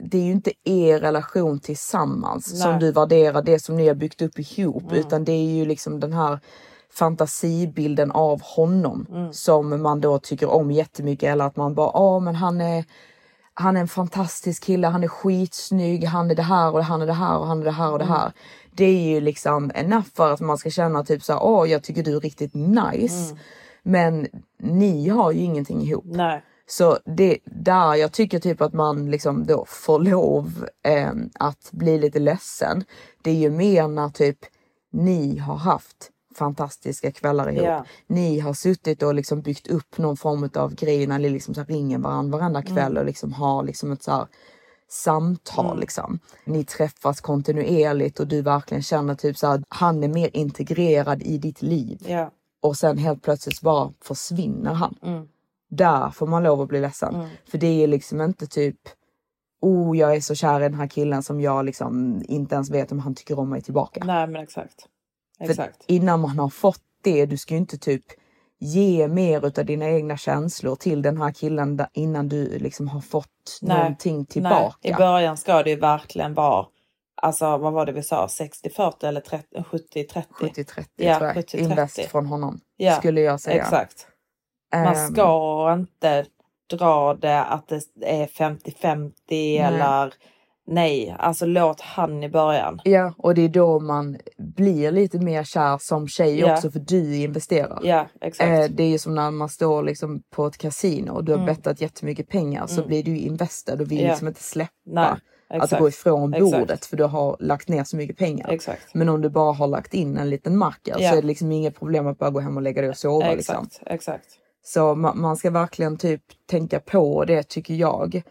Speaker 1: det är ju inte er relation tillsammans som
Speaker 2: Nej.
Speaker 1: du värderar det som ni har byggt upp ihop utan det är ju liksom den här fantasibilden av honom som man då tycker om jättemycket eller att man bara åh men han är han är en fantastisk kille, han är skitsnygg, han är det här och han är det här och han är det här och det här. Det är ju liksom enough för att man ska känna typ så här, åh jag tycker du är riktigt nice. Men ni har ju ingenting ihop.
Speaker 2: Nej.
Speaker 1: Så det där jag tycker typ att man liksom då får lov eh, att bli lite ledsen. Det är ju mer när typ ni har haft fantastiska kvällar ihop.
Speaker 2: Ja.
Speaker 1: Ni har suttit och liksom byggt upp någon form av grej när ni liksom så här ringer varandra varenda kväll och liksom har liksom ett så här samtal liksom. Ni träffas kontinuerligt och du verkligen känner typ så här, han är mer integrerad i ditt liv
Speaker 2: Ja.
Speaker 1: och sen helt plötsligt bara försvinner han.
Speaker 2: Mm.
Speaker 1: Där får man lov att bli ledsen. För det är liksom inte typ oh jag är så kär i den här killen som jag liksom inte ens vet om han tycker om mig tillbaka.
Speaker 2: Nej men exakt.
Speaker 1: För
Speaker 2: Exakt.
Speaker 1: innan man har fått det, du ska ju inte typ ge mer utav dina egna känslor till den här killen där- innan du liksom har fått någonting tillbaka.
Speaker 2: Nej, I början ska det ju verkligen vara, alltså vad var det vi sa, 60-40 eller 30 70-30?
Speaker 1: 70-30
Speaker 2: Ja,
Speaker 1: tror jag.
Speaker 2: 70-30.
Speaker 1: Invest från honom
Speaker 2: Ja,
Speaker 1: skulle jag säga.
Speaker 2: Exakt.
Speaker 1: Ehm,
Speaker 2: Man ska inte dra det att det är 50-50 eller nej. Alltså låt han i början.
Speaker 1: Ja, och det är då man blir lite mer kär som tjej
Speaker 2: Ja.
Speaker 1: också för du investerar.
Speaker 2: Ja, exakt.
Speaker 1: Eh, det är ju som när man står liksom på ett kasino och du har
Speaker 2: Mm.
Speaker 1: bettat jättemycket pengar så
Speaker 2: Mm.
Speaker 1: blir du ju investerad och vill
Speaker 2: Ja.
Speaker 1: liksom inte släppa
Speaker 2: Nej,
Speaker 1: att
Speaker 2: exakt.
Speaker 1: gå ifrån
Speaker 2: Exakt.
Speaker 1: bordet för du har lagt ner så mycket pengar.
Speaker 2: Exakt.
Speaker 1: Men om du bara har lagt in en liten macka
Speaker 2: Ja.
Speaker 1: så är det liksom inget problem att bara gå hem och lägga dig och sova.
Speaker 2: Exakt,
Speaker 1: Liksom.
Speaker 2: exakt.
Speaker 1: Så ma- man ska verkligen typ tänka på det tycker jag.